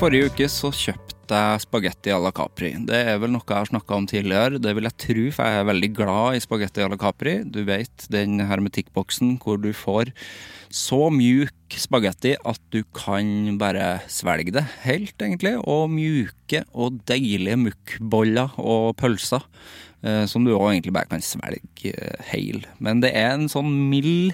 Forrige uke så kjøpte jeg spagetti à la Capri. Det er vel noe jeg har snakka om tidligere. Det vil jeg tro, for jeg er veldig glad i spagetti à la Capri. Du vet den hermetikkboksen hvor du får så mjuk spagetti at du kan bare svelge det helt, egentlig. Og mjuke og deilige mukkboller og pølser. eh, Som du òg egentlig bare kan svelge eh, heil. Men det er en sånn mild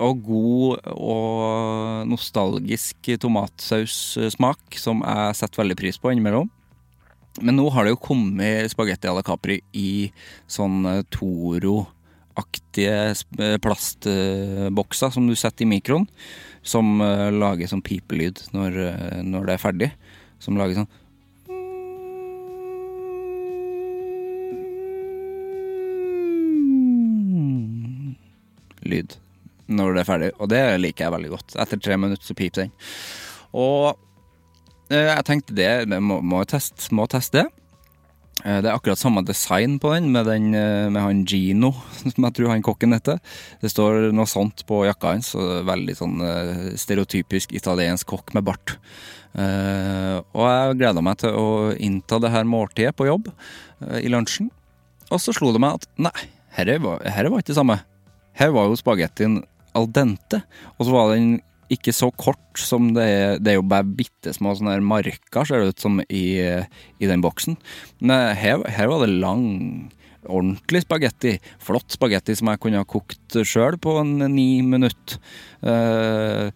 og god og nostalgisk tomatsaussmak som jeg setter veldig pris på innimellom. Men nå har det jo kommet spagetti à la Capri i sånne Toro-aktige sp- eh, plastbokser som du setter i mikroen, som eh, lager sånn pipelyd når, eh, når det er ferdig. Som lager sånn lyd når det er ferdig, og det liker jeg veldig godt. Etter tre minutter så piper den. Og eh, jeg tenkte det, det må, må, jeg teste, må teste det. Eh, Det er akkurat samme design på den, med, den, eh, med han Gino, som jeg tror han kokken heter. Det står noe sånt på jakka hans, og det er veldig sånn eh, stereotypisk italiensk kokk med bart. Eh, Og jeg gleda meg til å innta det her måltidet på jobb eh, i lunsjen. Og så slo det meg at nei, herre var, herre var ikke det samme. Her var jo spagettien al dente, og så var den ikke så kort som det er Det er jo bare bitte små sånne her marker, ser det ut som, i, i den boksen. Men her, her var det lang, ordentlig spagetti. Flott spagetti som jeg kunne ha kokt sjøl på en ni minutter. Eh,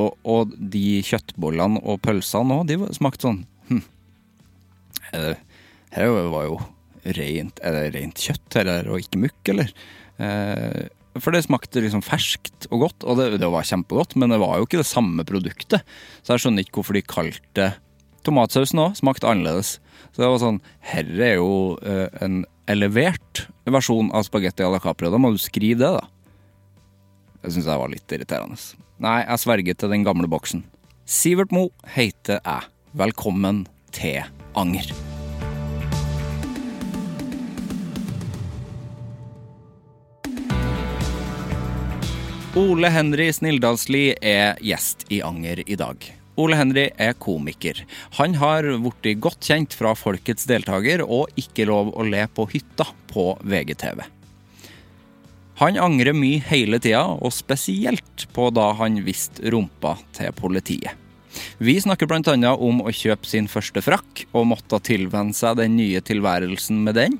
og, og de kjøttbollene og pølsene òg, de var- smakte sånn hm. Eh, Er det- Her var jo rent, er det rent kjøtt her, og ikke mukk, eller? Eh, for det smakte liksom ferskt og godt, og det, det var kjempegodt, men det var jo ikke det samme produktet. Så jeg skjønner ikke hvorfor de kalte det tomatsausen òg. Smakte annerledes. Så det var sånn Herre er jo eh, en elevert versjon av spagetti à la Capri, og da må du skrive det, da. Det syns jeg var litt irriterende. Nei, jeg sverger til den gamle boksen. Sivert Mo heter jeg. Velkommen til Anger. Ole Henry Snilldalsli er gjest i Anger i dag. Ole Henry er komiker. Han har blitt godt kjent fra Folkets deltaker og Ikke lov å le på hytta på VGTV. Han angrer mye hele tida, og spesielt på da han viste rumpa til politiet. Vi snakker bl.a. om å kjøpe sin første frakk, og måtte tilvenne seg den nye tilværelsen med den.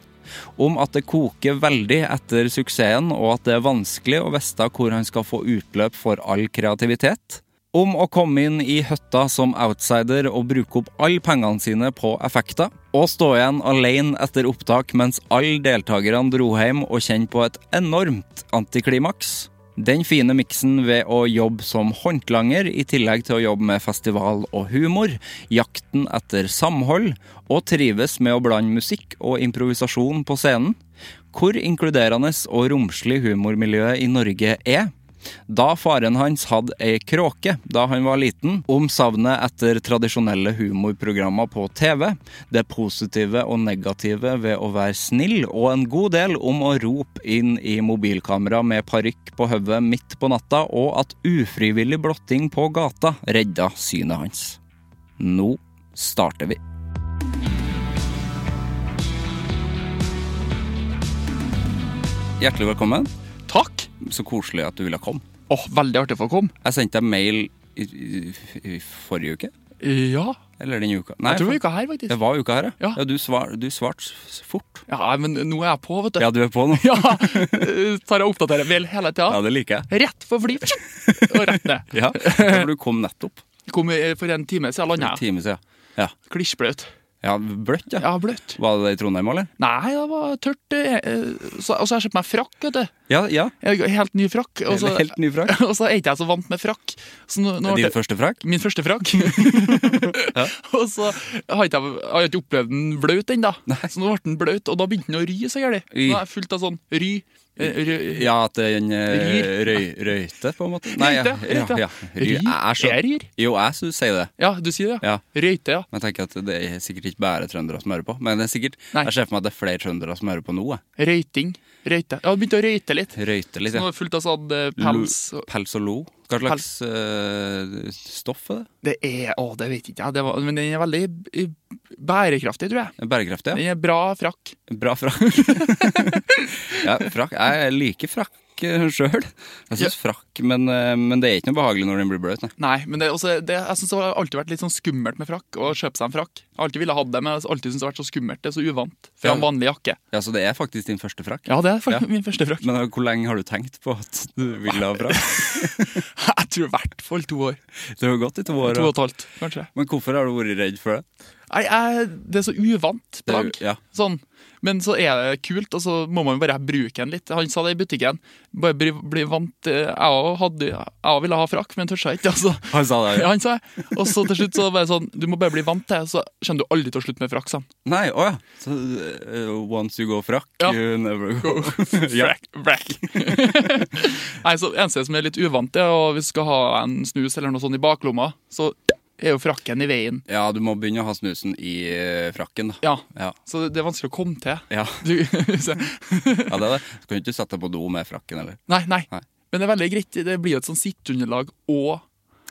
Om at det koker veldig etter suksessen, og at det er vanskelig å vite hvor han skal få utløp for all kreativitet. Om å komme inn i høtta som outsider og bruke opp alle pengene sine på effekter. Og stå igjen alene etter opptak mens alle deltakerne dro hjem og kjenne på et enormt antiklimaks. Den fine miksen ved å jobbe som håndlanger i tillegg til å jobbe med festival og humor, jakten etter samhold og trives med å blande musikk og improvisasjon på scenen. Hvor inkluderende og romslig humormiljøet i Norge er. da faren hans hadde ei kråke da han var liten, om savnet etter tradisjonelle humorprogrammer på TV, det positive og negative ved å være snill, og en god del om å rope inn i mobilkamera med parykk på hodet midt på natta, og at ufrivillig blotting på gata redda synet hans. Nå starter vi. Hjertelig velkommen. Takk! Så koselig at du ville komme. Åh, Veldig artig å få komme. Jeg sendte deg mail i, i, i forrige uke. Ja. Eller denne uka. Nei, Jeg tror for- det var uka her, faktisk. Det var uka her, ja. Ja. ja du, svar, du svarte s- fort. Ja, men nå er jeg på, vet du. Ja, du er på nå. Ja, eh, Tar jeg og oppdaterer vel hele Ja, tida. det liker jeg. Rett for fly, og rett ned. Ja, for du kom nettopp. Kom i- for en time siden En landa jeg. time siden. Ja. Klissbløt. ja, bløtt, ja. Ja, bløtt. Var det i Trondheim, eller? Nei, det var tørt. eh, eh, så- Og så har jeg kjøpt meg frakk, vet du. Ja, ja. Jeg har Helt ny frakk. Og så, Helt ny frakk. og så er ikke jeg så vant med frakk. Så nå, nå Det er ble- Din første frakk? Min første frakk. og så har ikke jeg har jeg ikke opplevd den bløt ennå. Så nå ble den bløt, og da begynte den å ry så gærent. Y. Nå er jeg fullt av sånn ry. eh, ry. Ja, at det er en eh, Ryr. røy, røyte, på en måte. Nei, ja, Røyte, ja, røyte. ja. Ryr. Jeg, jeg Ryr. skjønner. Jeg ryr. Jo, jeg sy- sier det. Ja, du sier det? Ja. Røyte, ja. Men jeg tenker at det er sikkert ikke bare trøndere som hører på. Men det er sikkert, Nei. jeg ser for meg at det er flere trøndere som hører på nå. jeg. Røyting. Røyte. Ja, det begynte å røyte litt. Røyte litt, Så nå ja. er det fullt av sånn eh, Lo- pels. og- Pels og lo. Hva slags eh, stoff er det? Det er Å, det vet ikke jeg. Det var, men den er veldig eh, bærekraftig, tror jeg. Bærekraftig, ja. Den er bra frakk. Bra frakk. ja, frakk. Jeg liker frakk eh, sjøl. Jeg syns frakk, men, eh, men det er ikke noe behagelig når den blir bløt. Nei. Nei, men det, er også, det, jeg synes det har alltid vært litt sånn skummelt med frakk. Å kjøpe seg en frakk. Jeg har alltid ville hatt det, men jeg har alltid syntes det har vært så skummelt. Det er så uvant fra Ja. en vanlig jakke. Ja, Så det er faktisk din første frakk. Ja, det Ja. er fakt- min første frakk. Men eh, hvor lenge har du tenkt på at du vil ha frakk? Jeg tror i hvert fall to år. Det har jo gått i to år. To og og- et halvt, kanskje. Men hvorfor har du vært redd for det? Nei, jeg, Det er så uvant Det er jo- plagg. ja. Sånn. Men så er det kult, og så må man jo bare bruke den litt. Han sa det i butikken. Bare bli, bli vant. eh, Jeg òg hadde- jeg òg ville ha frakk, men tørsa ikke. Altså. Han sa det. Ja, han sa det. Og så til slutt så bare sånn Du må bare bli vant til det, så kommer du aldri til å slutte med frakk. sa han. Nei, å ja. Så, eh, once you go frakk, Ja. you never go. Ja. Frakk, frakk. Nei, så eneste som er litt uvant, er å- hvis du skal ha en snus eller noe sånt i baklomma, så er jo frakken i veien. ja, du må begynne å ha snusen i eh, frakken, da. Ja, Ja. Så det er vanskelig å komme til. Ja, Du, så- ja det er det. Så kan du ikke sette deg på do med frakken, eller? nei, nei, Nei. Men det er veldig greit. Det blir jo et sånn sitteunderlag og,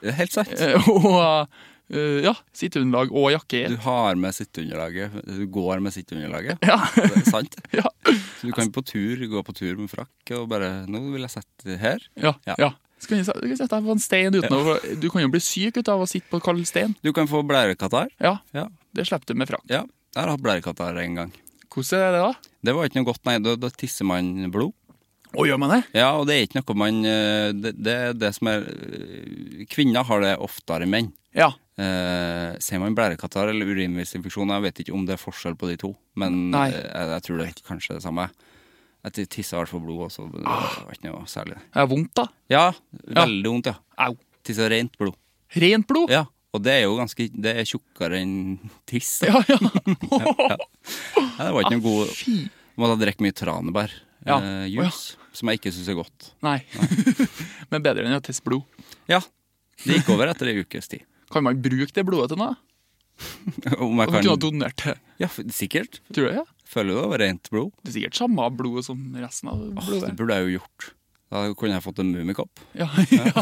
Det er helt sant. eh, og eh, Ja, sitteunderlag og jakke. Du i. har med sitteunderlaget. Du går med sitteunderlaget. Ja. Det er sant. Ja. Så du kan på tur, gå på tur med frakk og bare 'Nå vil jeg sette her'. Ja, Ja. ja. Så kan du se- du kan sette deg på en stein uten å Du kan jo bli syk ut av å sitte på kald stein. Du kan få blærekatarr. Ja, Ja. det slipper du med frakk. ja. Jeg har hatt blærekatarr en gang. Hvordan er det, da? Det var ikke noe godt, nei. Da, da tisser man blod. Å, gjør man det? Ja, og det er ikke noe man eh, Det, det er det som er eh, Kvinner har det oftere enn menn. Ja. Eh, ser man blærekatarr eller urinveisinfeksjon? Jeg vet ikke om det er forskjell på de to, men Nei. eh, jeg, jeg tror det er kanskje det samme. At de tisser i hvert fall blod også. men Ah. Det var ikke noe særlig. Det er vondt, da. Ja, veldig vondt, ja. Au. Tisser rent blod. Rent blod? Ja, og det er jo ganske Det er tjukkere enn tiss. da. Ja, ja. Nei, det var ikke noe god Fy. Må da drikke mye tranebær. Ja. Eh, Å, ja. juice, som jeg ikke syns er godt. Nei. Men bedre enn å teste blod. Ja, det gikk over etter ei ukes tid. Kan man bruke det blodet til noe? Om jeg Kan... Kunne ha kan donert det, Ja, f- sikkert. tror jeg. Føler du det var rent blod? Det er sikkert samme blodet som resten av Åh, blodet. det burde jeg jo gjort. Da kunne jeg fått en mummikopp. Ja, ja.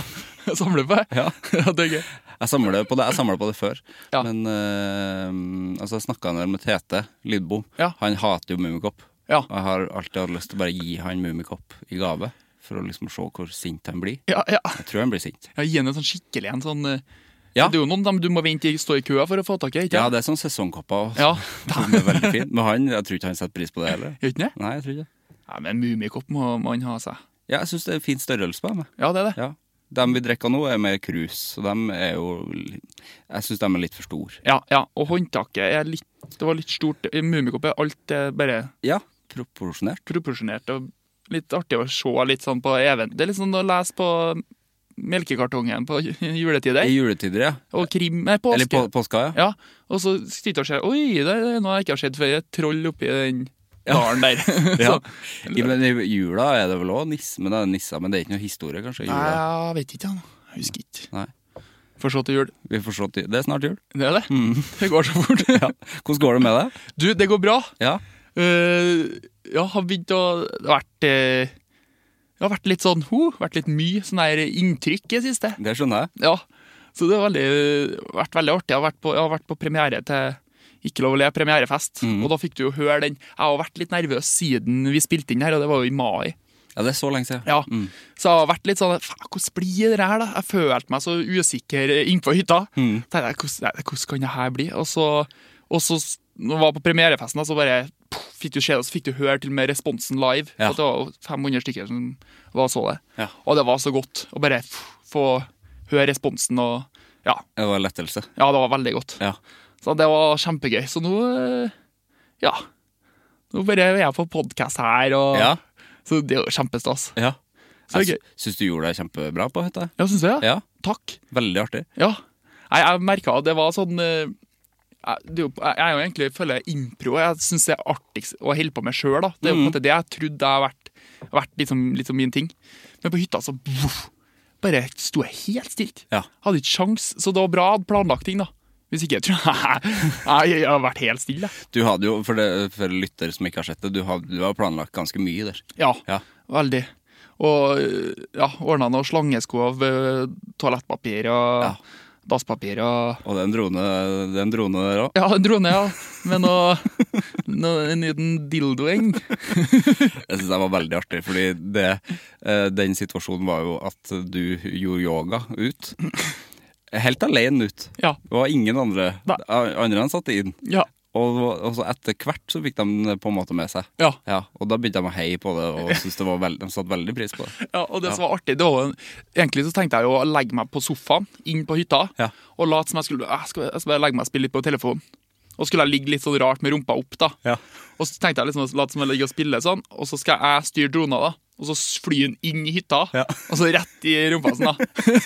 Samle på det. Ja. Ja, det er gøy. Jeg samler på det, jeg samler på det før. Ja. Men eh, altså, jeg snakka en del med Tete Lidbom. Ja. Han hater jo Mummikopp. Ja. Og jeg har alltid hatt lyst til å bare gi han Mummikopp i gave, for å liksom se hvor sint han blir. Ja, ja. Jeg tror han blir sint. ja, gi henne en sånn skikkelig en sånn eh, Ja. Det er jo noen dem du må vente i, stå i køa for å få tak i, ikke Ja, det er sånn sesongkopper også, Ja. som er veldig fin. Men han, jeg tror ikke han setter pris på det heller. Gjør ikke det? Nei, jeg tror ikke det. Ja, men Mummikopp må man ha seg. Ja, jeg syns det er fin størrelse på dem. jeg. Ja, det er det. Ja. Dem vi drikker nå, er mer krus, og dem er jo li- Jeg syns dem er litt for store. Ja, ja. Og håndtaket er litt Det var litt stort. I Mummikopp er alt eh, bare Ja, proporsjonert. proporsjonert og litt artig å se litt sånn på event. Det er litt sånn å lese på melkekartongen på I juletider. juletider, ja. Og krim Nei, påske. Eller på, påska, ja. Ja, og så sitter jeg og ser Oi, det er noe jeg ikke har sett før. Et troll oppi den dalen der. Ja. Så, I, men i jula er det vel òg nisse, men det er nisser, men det er ikke noe historie, kanskje? i nei, Jula. jeg vet ikke, han. Jeg husker ikke. Nei. Får se til jul. Vi får se til Det er snart jul. Det er det. Det går så fort. Ja. Hvordan går det med deg? Du, det går bra. Ja. Eh, ja, har begynt å det har vært eh, Det har vært litt sånn ho, vært litt mye sånn her inntrykk i det siste. Det skjønner jeg. Ja. Så det har veldig, vært veldig artig. Jeg har vært på, jeg har vært på premiere til Ikke lov å le, premierefest. Og da fikk du jo høre den. Jeg har vært litt nervøs siden vi spilte inn her, og det var jo i mai. Ja, Mm. Det er så lenge siden. Ja. Så jeg har vært litt sånn Faen, hvordan blir det her, da? Jeg følte meg så usikker eh, innenfor hytta. Mm. Tenkte jeg, hvordan, nei, hvordan kan det her bli? Og så, og så s- når jeg var på premierefesten, da, så bare poff, fikk du se det, så fikk du høre til og med responsen live. Ja. At det var 500 stykker som var og så det. Ja. Og det var så godt å bare f- få høre responsen og ja, Det var en lettelse. ja, det var veldig godt. Ja. Så det var kjempegøy. Så nå eh, Ja. Nå bare er jeg på podkast her, og Ja. Så det er jo kjempestas. ja. Så Jeg gøy. sy- syns du gjorde deg kjempebra på hytta. Ja, syns du det? Ja. Takk. Veldig artig. Ja. Nei, jeg merka det var sånn eh, jeg, det er jo, jeg er jo egentlig føler jeg impro. Jeg syns det er artigst å holde på med sjøl. Det er jo på en Mm. måte det jeg trodde jeg har vært, vært liksom, liksom min ting. Men på hytta så voff, bare sto jeg helt stilt. Ja. Hadde ikke sjans, så det var bra jeg hadde planlagt ting, da. Hvis ikke jeg tror jeg, jeg har vært helt stille. jeg. Du hadde jo, for, det, for lyttere som ikke har sett det, du har, du har planlagt ganske mye der. Ja, Ja. veldig. Og eh, ja, ordna noe slangesko av eh, toalettpapir og Ja. dasspapir og Og den drone, den drone der òg. Ja, en drone, ja. Med noe, noe, en liten dildoing. Jeg syns det var veldig artig, fordi det, eh, den situasjonen var jo at du gjorde yoga ut. Helt alene ut. Ja. Det var ingen andre. Nei. Andre enn satte inn. Ja. Og, og så etter hvert så fikk de det på en måte med seg. Ja. Ja, og da begynte de å heie på det, og syntes det var veld, de satte veldig pris på det. ja, og det som var artig det var, jo en- Egentlig så tenkte jeg jo å legge meg på sofaen inn på hytta Ja. og late som jeg skulle jeg skal, jeg skal bare legge meg og spille litt på telefonen. Og skulle jeg ligge litt sånn rart med rumpa opp, da. Ja. Og så tenkte jeg liksom å late som jeg ligger og spiller sånn, og så skal jeg styre drona, da. Og så flyr den inn i hytta, Ja. og så rett i rumpa sånn, da.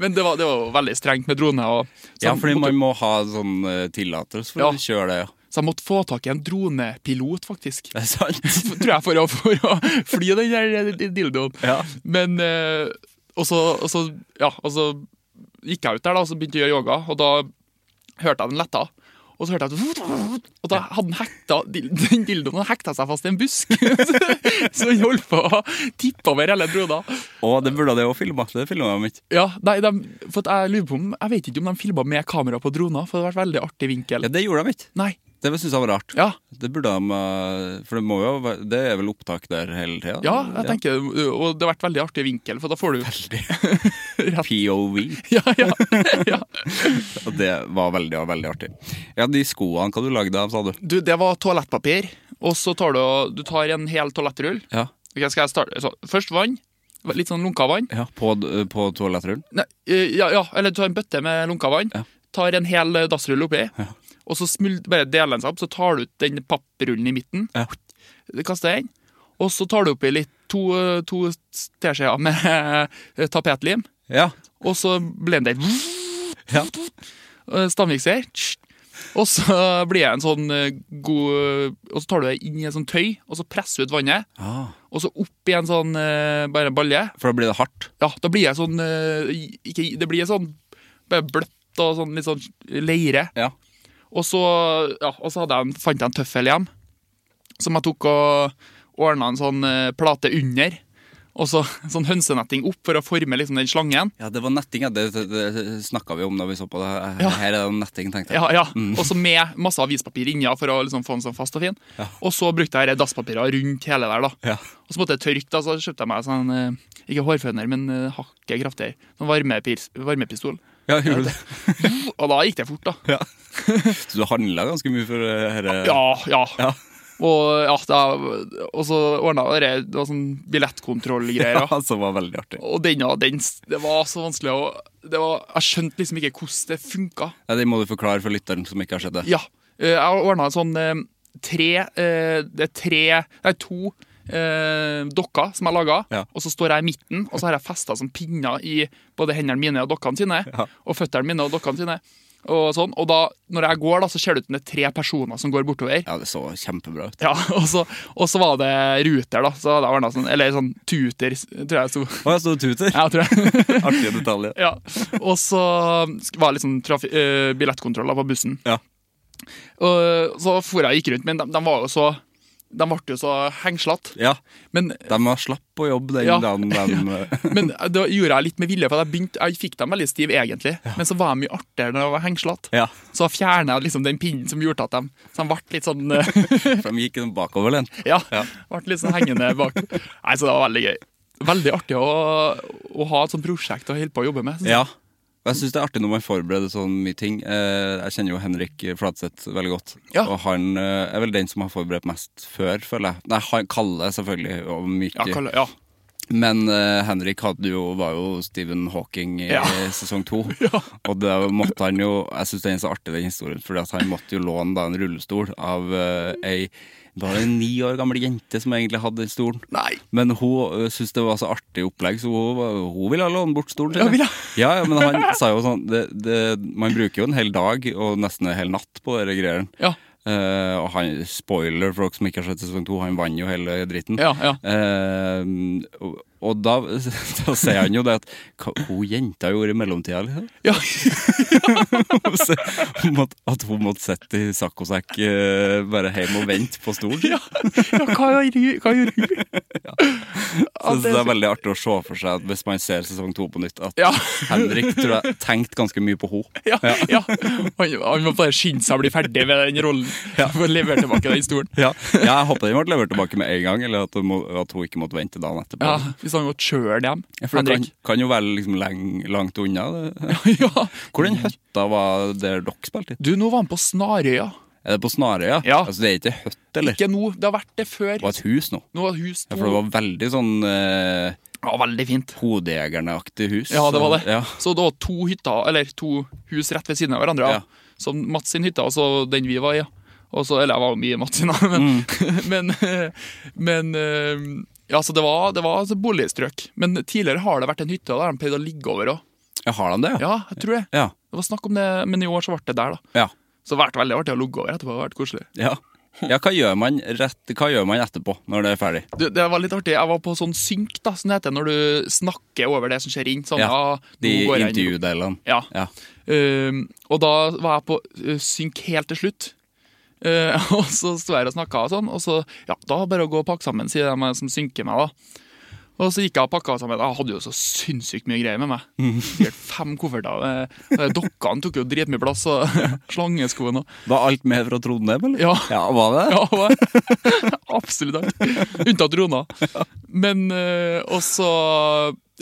Men det var, det var jo veldig strengt med drone. Og, så Ja, jeg fordi måtte- man må ha sånn eh, tillatelse for Ja. å kjøre det, ja. Så jeg måtte få tak i en dronepilot, faktisk. Det er sant. For- tror jeg, for å, for å fly den der dildoen. Ja. Men eh, og, så, og, så, ja, og så gikk jeg ut der, da, og så begynte jeg å gjøre yoga, og da hørte jeg den letta. Og så hørte jeg at- Og da hadde den hekta Den dildoen hadde hekta seg fast i en busk! så den holdt på å tippe over hele broda. Og det burde det jo filma. Det filma de ikke. Ja, nei, de, for at jeg lurer på om Jeg vet ikke om de filma med kamera på drona, for det hadde vært veldig artig vinkel. Ja, det gjorde de ikke. Nei. Det syns jeg var rart. Ja. Det burde de eh, For det må jo være Det er vel opptak der hele tida? Ja, jeg tenker, og det har vært veldig artig vinkel, for da får du Rett. POV. Ja, ja, ja. Og det var veldig, veldig artig. Ja, de skoene hva du lagde av, sa du? Du, det var toalettpapir, og så tar du, og- du tar en hel toalettrull. Ja. Ok, skal jeg starte? Så, først vann. Litt sånn lunka vann. ja på, d- på toalettrullen? Nei, eh, ja, ja, eller du tar en bøtte med lunka vann. Ja. Tar en hel eh, dassrull oppi, og så smul, bare deler den seg opp. Så tar du ut den papprullen i midten, Ja. kaster den, og så tar du oppi litt to, eh, to teskjeer med eh, tapetlim, Ja. og så blender den. ja. Eh, stavmikser. tsk. Og så blir jeg en sånn eh, god Og så tar du det inn i en sånn tøy, og så presser du ut vannet. Ah, Og så opp i en sånn eh, bare balje. for da blir det hardt? Ja, da blir jeg sånn eh, i- ikke, i- Det blir sånn bare bløtt og sånn litt sånn leire. Ja. Og så, ja, og så hadde jeg en, fant jeg en tøffel hjem, som jeg tok og ordna en sånn eh, plate under. Og så sånn hønsenetting opp for å forme liksom den slangen. Ja, det var netting. ja. Det, det, det snakka vi om da vi så på det. Ja. Her er det netting, tenkte jeg. Ja, ja. Mm. Og så med masse avispapir inni for å liksom få den sånn fast og fin. Og så brukte jeg dasspapirer rundt hele der. da. Ja. Og så måtte jeg tørke, da, så kjøpte jeg meg sånn eh, Ikke hårføner, men eh, hakket kraftigere. Sånn varmepils, varmepistol. Ja, gjorde du det? Og da gikk det fort, da. Ja. Så du handla ganske mye for dette? Ja, ja. Ja. Og, ja, da, og så ordna jeg det, det var sånn billettkontrollgreier. da. Ja, som var veldig artig. Og den, ja, den Det var så vanskelig å det var, Jeg skjønte liksom ikke hvordan det funka. Ja, det må du forklare for lytteren som ikke har sett det. Ja. eh, Jeg ordna en sånn eh, tre eh, Det er tre Nei, to eh, dokker som jeg laga. Ja. Og så står jeg i midten, og så har jeg festa som pinner i både hendene mine og dokkene sine. Og føttene mine og dokkene sine. Og, sånn. og da, når jeg går, da, så ser det ut som det er tre personer som går bortover. Ja, det så kjempebra ut. Ja, og så, og så var det Ruter, da. Så hadde jeg ordnet sånn, eller sånn Tuter, tror jeg det sto. Å, jeg sto og tuter. Ja, tror jeg. Artige detaljer. ja. Og så var det litt sånn trafi- eh, billettkontroll da, på bussen. Ja. Og Eh, så for jeg og gikk rundt, men de, de var jo så De ble jo så hengslete. ja. Men, De var slapp å jobbe den eh, Ja. dagen de men det gjorde jeg litt med vilje, for jeg, begynte, jeg fikk dem veldig stiv egentlig. Men så var de mye artigere når de var hengslete. Ja. Så fjerna jeg liksom den pinnen som gjorde at dem Så de ble litt sånn eh, For de gikk sånn bakoverlent. Ja. Ble litt sånn hengende bak. Nei, Så det var veldig gøy. Veldig artig å, å ha et sånt prosjekt å holde på å jobbe med. synes jeg. Ja. Og jeg syns det er artig når man forbereder sånn mye ting. Eh, Jeg kjenner jo Henrik Fladseth veldig godt. Ja. Og han eh, er vel den som har forberedt mest før, føler jeg. Nei, han Kalle, selvfølgelig, og Ja, Mykke. Kalle, ja. Men eh, Henrik hadde jo, var jo Stephen Hawking i Ja. sesong to. Og da måtte han jo Jeg syns den er så artig, den historien, Fordi at han måtte jo låne da en rullestol av eh, ei bare en ni år gammel jente som egentlig hadde den stolen. Nei. Men hun eh, syntes det var så artig opplegg, så hun, var- hun ville låne bort stolen. Ja, sin. ville. ja, ja, men han sa jo sånn det, det, Man bruker jo en hel dag og nesten en hel natt på de greiene. Ja. Eh, og han, spoiler for dere som ikke har sett sesong to, han vant jo hele dritten. Ja, ja. Eh, og, og da, da sier han jo det at hva hun jenta gjorde i mellomtida, liksom. Ja. Så hun måtte- at hun måtte sitte i sakk og sekk eh, bare hjemme og vente på stolen. ja. ja hva, gjorde- hva gjorde hun? Så det det er veldig artig å se for seg at hvis man ser sesong to på nytt, at Ja. Henrik tror jeg tenkte ganske mye på henne. Ja, ja. Han, han må bare skynde seg å bli ferdig med den rollen for å levere tilbake den stolen. Ja. ja, jeg håper den ble levert tilbake med en gang, eller at hun, må, at hun ikke måtte vente dagen etterpå. Ja, Hvis han måtte kjøre den hjem. Ja, for det kan, Henrik. kan jo være liksom leng, langt unna. Det. Ja. Hvor den høtta var der dere spilte? i? Du, nå var han på Snarøya. Er det på Snarøya? Ja. Altså, det er ikke høtt, eller? Ikke nå, det har vært det før. Det var et hus nå. Nå var hus Ja, to. for det var veldig sånn eh, Ja, veldig fint. hodejegerne-aktig hus. Ja, det var det. Så, ja. Så det var to hytter, eller to hus rett ved siden av hverandre. Ja. Ja. Som Mats sin hytte, og så den vi var i. ja. Og så, eller jeg var jo mye i Mats sin, da, men, Mm. men, men eh, Ja, så det var, det var altså boligstrøk. Men tidligere har det vært en hytte der de pleide å ligge over òg. Ja, har de det? Ja, jeg tror det. Ja. Det var snakk om det, men i år så ble det der, da. Ja. Så det har vært veldig artig å ligge over etterpå. Det har vært koselig. ja. Ja, hva gjør, man rett, hva gjør man etterpå, når det er ferdig? Du, det var litt artig. Jeg var på sånn synk, da, som det heter, når du snakker over det som skjer inn. Sånn, ja, De nå går jeg inn. intervjudelene. Ja. Ja. Um, og da var jeg på uh, synk helt til slutt. Uh, og så sto jeg her og snakka og sånn, og så Ja, da er det bare å gå og pakke sammen, sier de som synker meg, da. Og så gikk jeg og pakka sammen. Jeg hadde jo så sinnssykt mye greier med meg. Sikkert fem kofferter. Eh, eh, Dokkene tok jo dritmye plass, og slangeskoen og Var alt med fra Trondheim, eller? Ja. var det? ja, hva? Absolutt alt. Unntatt Rona. Men eh, Og så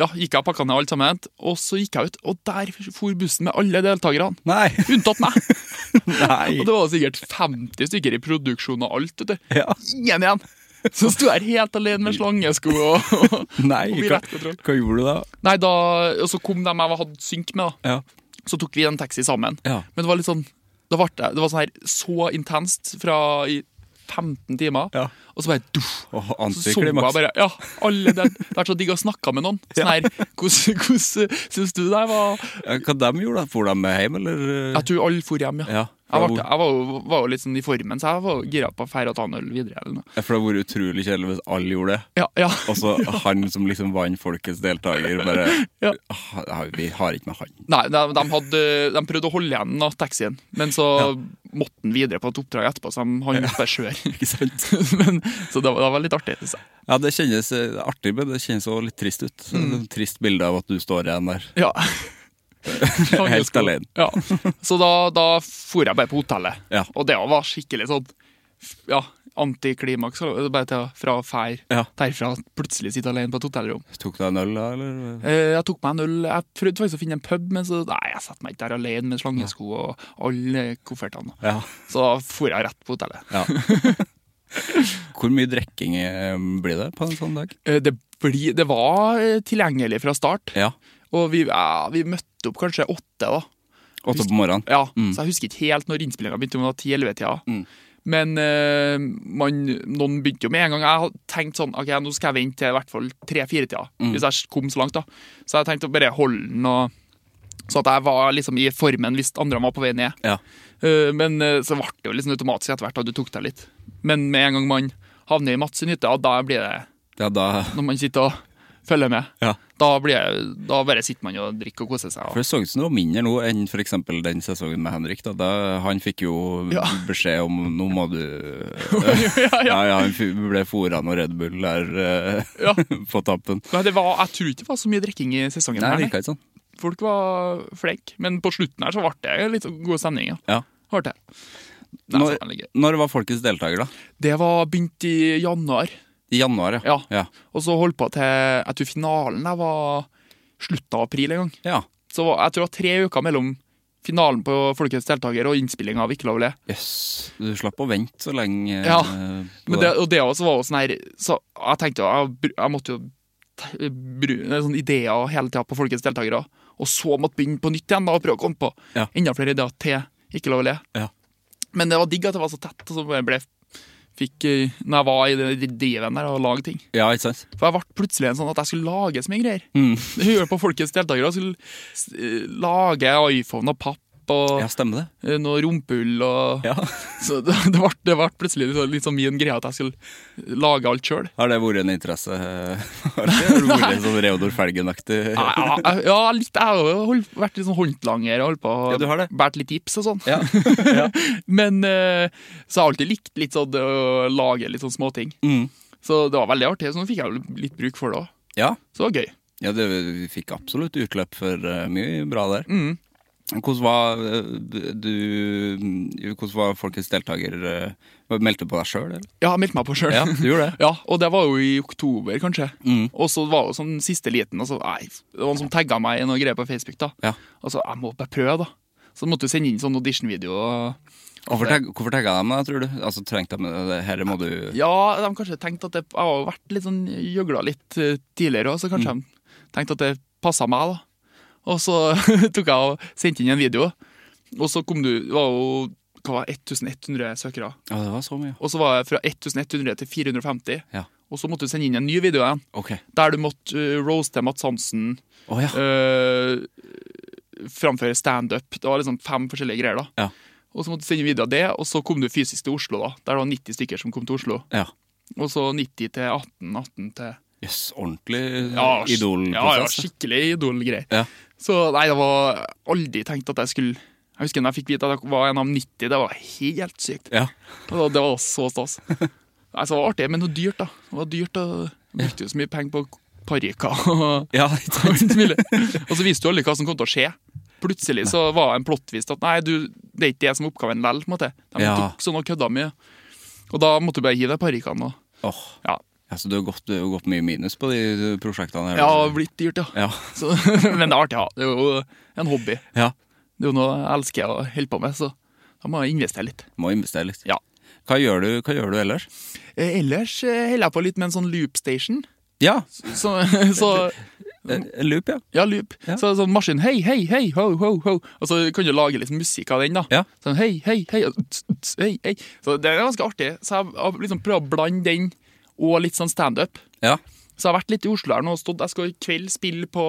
ja, gikk jeg og pakka ned alt sammen, og så gikk jeg ut, og der for bussen med alle deltakerne. Nei. Unntatt meg. Og Nei. det var sikkert 50 stykker i produksjon og alt. vet du. Ja. Ingen igjen! Så sto jeg her helt alene med slangesko og, og, Nei. og Hva, billettkontroll. hva gjorde du da? Nei, da, og så kom de jeg hadde synk med, da. Ja. Så tok vi en taxi sammen. Ja. Men det var litt sånn Det, ble, det det var sånn her så intenst fra i 15 timer, Ja. og så bare duff. Åh, Så så jeg Antiklimaks. bare Ja, alle den, det har vært så digg å snakke med noen. Sånn her, hvordan, hvordan syns du det her var Ja, Hva de gjorde de? For de med hjem, eller? Jeg tror alle for hjem, ja. Ja, jeg for var, hvor- jeg var, jo, var jo litt sånn i formen, så jeg var jo gira på å feire og ta en øl videre. eller noe. Ja, For det hadde vært utrolig kjedelig hvis alle gjorde det. Ja, ja. Og så han som liksom vant folkets deltaker, bare Ja. «Ah, nei, Vi har ikke med han. Nei, de, de, hadde, de prøvde å holde igjen da, taxien, men så måtte han videre på et oppdrag etterpå, så de- han måtte bare kjøre. Ikke sant? men, så det var, det var litt artig. synes jeg. Ja, det kjennes eh, artig, men det kjennes også litt trist ut. Mm. Et Trist bilde av at du står igjen der. Ja. Helt alene. Ja. Så da, da for jeg bare på hotellet, Ja. og det var skikkelig sånn ja, antiklimaks. Bare til å- fra å feire Ja. derfra plutselig sitte alene på et hotellrom. Tok du deg en øl da, eller? Eh, Jeg tok meg en øl. Jeg prøvde faktisk å finne en pub, men så Nei, jeg setter meg ikke der alene med slangesko og alle koffertene. Ja. Så da for jeg rett på hotellet. ja. Hvor mye drikking eh, blir det på en sånn dag? Eh, Det, blir- det var eh, tilgjengelig fra start, Ja. og vi, ja, vi møtte opp kanskje åtte, da. Åtte på morgenen? Ja, Så jeg husker ikke helt når innspillinga begynte, om det var ti-elleve-tida. Men eh, man, noen begynte jo med en gang. Jeg hadde tenkt sånn Ok, nå skal jeg vente til i hvert fall tre-fire-tida, hvis jeg kom så langt, da. Så jeg tenkte å bare holde den og Så at jeg var liksom i formen hvis andre var på vei ned. Ja. Eh, Men eh, så ble det jo liksom automatisk etter hvert at du tok deg litt. Men med en gang man havner i Mats sin hytte, ja, da blir det ja, da Når man sitter og følger med, Ja. da, blir jeg, da bare sitter man og drikker og koser seg. For Og, det så ut som det var mindre nå enn f.eks. den sesongen med Henrik. Da. Da, han fikk jo Ja. beskjed om nå må du ja, ja. Ja, ja, han f- ble fora noe Red Bull der eh, Ja. på tampen. Men det var, jeg tror ikke det var så mye drikking i sesongen. Nei, her, det nei. virka ikke sånn. Folk var flinke, men på slutten her så ble det litt sånn god stemning. Ja. Ja. Ble det. Nei, så Når, var det gøy. når var folkets deltaker, da? det var begynt i januar, I januar, ja. Ja. og så holdt på til Jeg tror finalen der var slutten av april en gang. Ja. Så var, jeg tror det var tre uker mellom finalen på Folkets deltaker og innspillinga av Ikke lov å le. Jøss, du slapp å vente så lenge. eh, Ja, på Men det, og det også var jo sånn her Så jeg tenkte jo Jeg, br- jeg måtte jo te- bru- sånne sånn ideer hele tida på folkets deltakere, og så måtte begynne på nytt igjen da og prøve å komme på Ja. enda flere ideer til Ikke lov å le. Ja. Men det var digg at det var så tett, og så bare ble Fikk eh, Når jeg var i det det driven der og lage ting. Ja, ikke sant? For jeg ble plutselig en sånn at jeg skulle lage så mye greier. Mm. Det gjorde jeg på Folkets deltakere. Jeg skulle s- eh, lage iPhone og papp og Ja, stemmer det. eh, noe rumpehull og Ja. så det, det, ble, det ble plutselig litt sånn- litt sånn min greie at jeg skulle lage alt sjøl. Har det vært en interesse? eh, Har det vært en sånn Reodor Felgen-aktig Ja, jeg- ja, litt, jeg har jo holdt- vært litt sånn håndlanger og holdt på Ja, du har det. båret litt tips og sånn. Ja. Men eh, så har jeg alltid likt litt sånn å lage litt sånn småting. Mm. Så det var veldig artig. Så nå fikk jeg jo litt bruk for det òg. Ja. Så det var gøy. ja, det, vi fikk absolutt utløp for eh, mye bra der. Mm. Hvordan var eh, du eh, Hvordan var folkets deltaker? eh, Meldte du på deg sjøl, eller? Ja, jeg meldte meg på sjøl. Ja, Mm. du gjorde det. Ja, og det var jo i oktober, kanskje. Og så var det jo sånn siste liten. Og så, nei, det var noen som tagga meg i noe greier på Facebook. da Ja. Og så jeg må bare prøve, da. Så måtte du sende inn sånn audition-video. og- Hvorfor, tag, hvorfor tagga de deg, tror du? Altså, trengte de det? Herre må du Ja, de kanskje tenkte at det, jeg har jo vært litt sånn gjøgla litt eh, tidligere òg, så kanskje de tenkte at det passa meg, da. Og så tok jeg og sendte inn en video, og så kom du Det var jo hva var det, 1100 søkere. Ja, det var så mye. Og så var jeg fra 1100 til 450, Ja. og så måtte du sende inn en ny video igjen, OK. der du måtte eh, roaste Mads Hansen, Å ja. eh, framføre standup. Det var liksom fem forskjellige greier, da. Ja. Og så måtte du sende inn video av det, og så kom du fysisk til Oslo, da. Der det var 90 stykker som kom til Oslo. Ja. Og så 90 til 18, 18 til Jøss, ordentlig Ja, sk- Ja, ja, idolprosess. da. skikkelig idolgreier. Ja. Så nei, det var aldri tenkt at jeg skulle Jeg husker da jeg fikk vite at jeg var en av 90, det var helt sykt. Ja. Det var, det var så stas. Nei, så det var artig, men noe dyrt, da. Det var dyrt, og jeg brukte jo så mye penger på parykker og Ja, ikke sant? alt mulig. Og så visste jo alle hva som kom til å skje. Plutselig så var det en plottvist at nei, du, det er ikke det som er oppgaven likevel, på en måte. De Ja. tok sånn og kødda mye. Og da måtte du bare hive de parykkene og Åh, Ja. ja, så du har gått, du har gått mye minus på de eh, prosjektene? her, Ja, altså. blitt dyrt, ja. Ja. Så, men det er artig, ja. Det er jo en hobby. ja. Det er jo noe jeg elsker å holde på med, så da må jeg investere litt. Må investere litt. Ja. Hva gjør du, hva gjør du ellers? Eh, Ellers eh, holder jeg på litt med en sånn loopstation. Ja, Så, så eh, loop, ja. ja, loop. Ja. Så sånn maskin Hei, hei, hei, ho, ho, ho. Og så kan du lage litt musikk av den, da. Ja. Sånn hei, hei, hei, og tss, tss, hei, hei. Så det er ganske artig. Så jeg har liksom prøvd å blande den og litt sånn standup. Ja, Så jeg har vært litt i Oslo her nå og stått Jeg skal i kveld spille på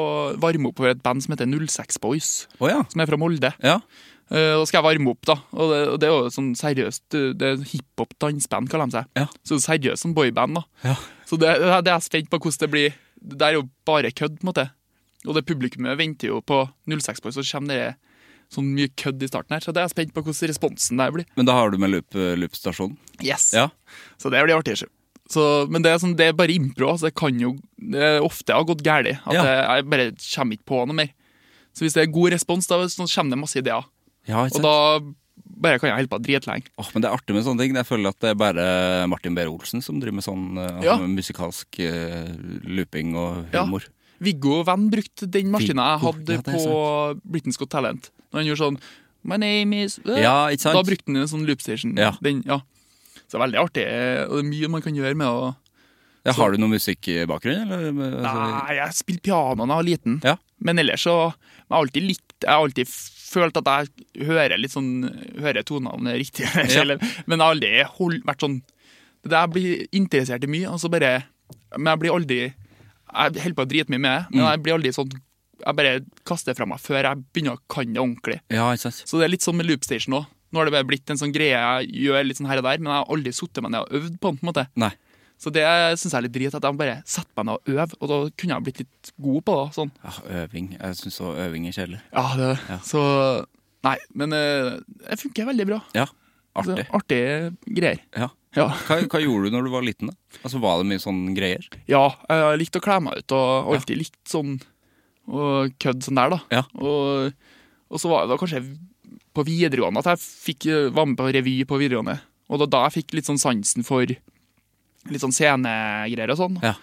varme opp for et band som heter 06 Boys, å ja. som er fra Molde. Ja, Eh, Da skal jeg varme opp, da. Og det, og det er jo sånn seriøst eh, Det er hiphop-dansband, kaller de seg. Ja. Så seriøst sånn boyband, da. Ja. Så det, det er det er jeg spent på hvordan det blir. Det er jo bare kødd, på en måte. Og det publikummet venter jo på 06 Boys, så kommer det sånn mye kødd i starten her. Så det er jeg spent på hvordan responsen der blir. men da har du med loop, eh, loopstasjonen? Yes! Ja. Så det blir artig. sjø. Så, men det er, sånn, det er bare impro. Altså, det kan jo det er ofte ha gått galt. At Ja. jeg, jeg bare kommer ikke på noe mer. Så hvis det er god respons, da så kommer det masse ideer. Ja, ikke Og sant? da bare kan jeg holde på dritlenge. Åh, men det er artig med sånne ting. Jeg føler at det er bare Martin Behr Olsen som driver med sånn eh, Ja. musikalsk eh, looping og Ja. humor. Viggo Venn brukte den maskina jeg Viggo, hadde ja, det er på Britain's Got Talent. Når han gjorde sånn My name is Øh. Ja, ikke sant? Da brukte han en sånn loopstation. Ja. Den, ja. Så det er veldig artig, og det er mye man kan gjøre med å Ja, har du noen musikkbakgrunn, eller? Altså, Nei, jeg spilte piano da jeg var liten, Ja. men ellers så Jeg har alltid likt Jeg har alltid følt at jeg hører litt sånn Hører tonene riktig, eller- men jeg har aldri hold, vært sånn Det der blir interessert i mye, og så bare Men jeg blir aldri Jeg holder på dritmye med det, men jeg blir aldri sånn jeg bare kaster det fra meg før jeg begynner å kan det ordentlig. Ja, ikke sant? Så det er litt sånn med loopstation òg. Nå har det bare blitt en sånn greie jeg gjør litt sånn her og der, men jeg har aldri sittet meg ned og øvd på den. på en måte. Nei. Så det syns jeg er litt drit, at jeg må bare setter meg ned og øver, og da kunne jeg blitt litt god på det. sånn. Ja, Ah, øving. Jeg syns også øving er kjedelig. Ja, det, Så Nei, men eh, det funker veldig bra. Ja, Det artig. er Artige greier. Ja. Ja. Hva, hva gjorde du når du var liten? da? Altså, Var det mye sånne greier? ja, jeg har likt å kle meg ut, og alltid likt sånn og kødd sånn der, da. Ja. Og, og så var det da kanskje på videregående at jeg fikk, eh, var med på revy på videregående. Og da, da jeg fikk litt sånn sansen for litt sånn scenegreier og sånn. Ja.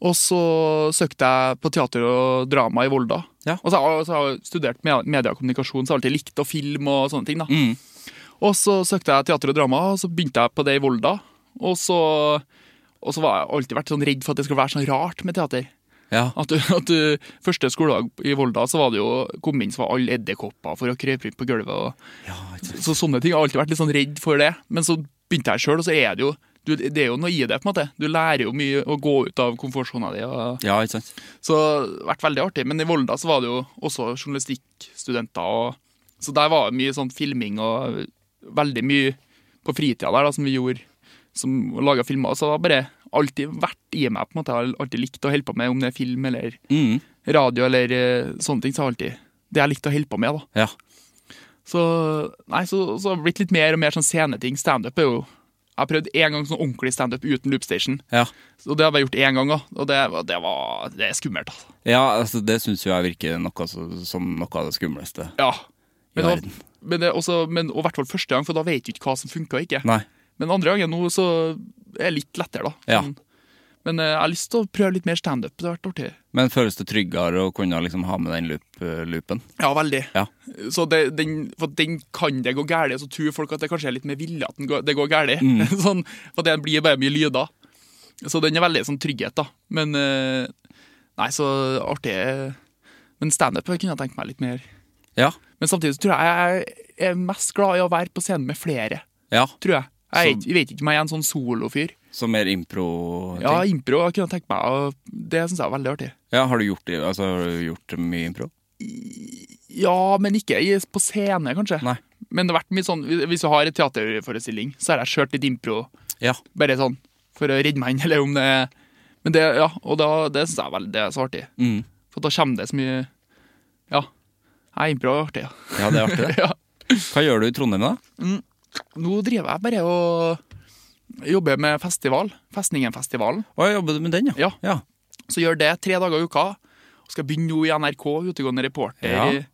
Og så søkte jeg på teater og drama i Volda. Ja. Og så har jeg- så har jeg studert med- media og kommunikasjon, så har jeg alltid likt å filme og sånne ting. da. Mm. Og så søkte jeg teater og drama, og så begynte jeg på det i Volda. Og så, og så var jeg alltid vært sånn redd for at det skulle være sånn rart med teater. Ja. At du, at du Første skoledag i Volda så var det jo kom inn så var alle edderkopper for å krøpe rundt på gulvet. Og, ja ikke sant? så sånne ting. Jeg har alltid vært litt sånn redd for det. Men så begynte jeg sjøl, og så er det jo du, Det er jo noe i det, på en måte. Du lærer jo mye å gå ut av komfortsona di. Og, Ja, ikke sant? så det har vært veldig artig. Men i Volda så var det jo også journalistikkstudenter. Og, så der var det mye sånn filming og veldig mye på fritida der da, som vi gjorde, som laga filmer. Så det har bare alltid vært i meg. på en måte. Jeg har alltid likt å holde på med, om det er film eller Mm. radio eller eh, sånne ting. så har jeg alltid Det jeg likte å holde på med. da. Ja. Så, nei, så, så har det blitt litt mer og mer sånn sceneting. Standup er jo Jeg har prøvd én gang sånn ordentlig standup uten loopstation. Ja. Og det har jeg bare gjort én gang òg, og det, var- det var Det er skummelt, altså. ja, altså, det syns jo jeg virker noe, så- som noe av det skumleste. Ja. I Men, da- verden. men det er også, men, og i hvert fall første gang, for da vet du ikke hva som funka og ikke. Nei. Men andre gangen nå så er det litt lettere, da. Ja. Sånn. Men eh, jeg har lyst til å prøve litt mer standup. Det har vært artig. Men føles det tryggere å kunne liksom ha med den loop, loopen? Ja, veldig. Ja. Så det, den, for den kan det gå galt, så tror folk at det kanskje er litt mer vilje at den går, det går galt. Mm. sånn, for det blir bare mye lyder. Så den er veldig sånn trygghet, da. Men eh, Nei, så artig Men standup kunne jeg tenkt meg litt mer. Ja. Men samtidig så tror jeg jeg er mest glad i å være på scenen med flere, ja. tror jeg. Jeg, er Så- ikke- jeg vet ikke om jeg er en sånn solofyr. Så mer impro-ting? Ja, impro jeg kunne tenkt meg, og det syns jeg er veldig artig. Ja, har du gjort, det- altså, har du gjort mye impro? Ja, men ikke i- på scene, kanskje. Nei. Men det har vært mye sånn, hvis du har en teaterforestilling, så har jeg kjørt litt impro. Ja. Bare sånn, for å redde meg inn, eller om det er Men det, ja, og da, det syns jeg er veldig det er så artig. Mm. For da kommer det så mye Ja. Nei, impro er artig, ja. Ja, det er artig, det. ja. Hva gjør du i Trondheim, da? Nå driver jeg bare og jobber med festival. Festningenfestivalen. Å, jeg jobber med den, ja. Ja. Så gjør det tre dager i uka. Og skal begynne nå i NRK, utegående reporter,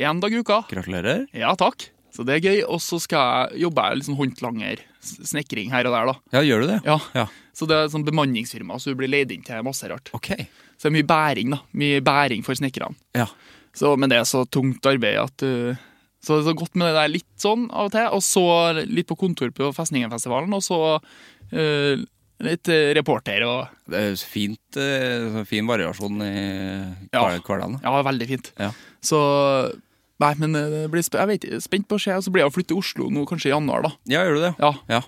én dag i uka. Gratulerer. Ja, takk. Så det er gøy. Og så skal jeg jobbe litt sånn håndlanger, s- snekring her og der, da. Ja, gjør du det? Ja. Ja. Så det er sånn bemanningsfirma, så du blir leid inn til masse rart. Ok. Så det er mye bæring, da. Mye bæring for snekkerne. Ja. Så- Men det er så tungt arbeid at uh, Så det er så godt med det der litt sånn av og til, og så litt på kontor på Festningenfestivalen, og så uh, litt uh, reporter og Det er jo så fint, eh, så fin variasjon i Ja. hver- hverdagen. da. Ja, veldig fint. Ja. Så Nei, men uh, det blir sp jeg vet, ikke, spent på å se. Og så blir jeg å flytte til Oslo nå kanskje i januar, da. Ja, gjør du det? Ja. Ja.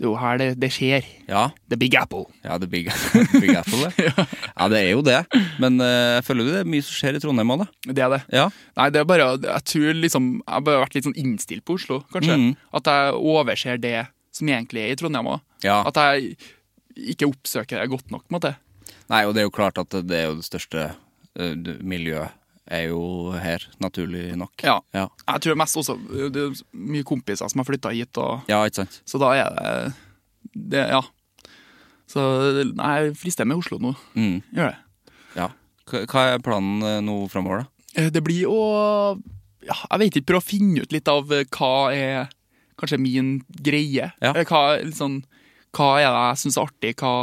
Det er jo her det, det skjer. Ja, The Big Apple. ja The Big, big Apple, det. Ja, det er jo det. Men eh, jeg føler jo det er mye som skjer i Trondheim òg, da. Det er det. Ja. Nei, det er bare, jeg tror liksom, jeg har bare vært litt sånn innstilt på Oslo, kanskje. Mhm. At jeg overser det som egentlig er i Trondheim òg. ja. At jeg ikke oppsøker det godt nok, på en måte. Nei, og det er jo klart at det er jo det største eh, du- miljøet er jo her, naturlig nok. Ja. Ja, Jeg tror mest også Det er mye kompiser som har flytta hit, og, ja ikke sant? så da er det, det Ja. Så nei, jeg frister med Oslo nå. Mm. Gjør det. Ja. Hva hva er planen eh, nå framover, da? Eh, Det blir å ja, Jeg vet ikke, prøve å finne ut litt av eh, hva er kanskje min greie. Ja. Eller Hva, er litt sånn, hva er det jeg syns er artig? Hva,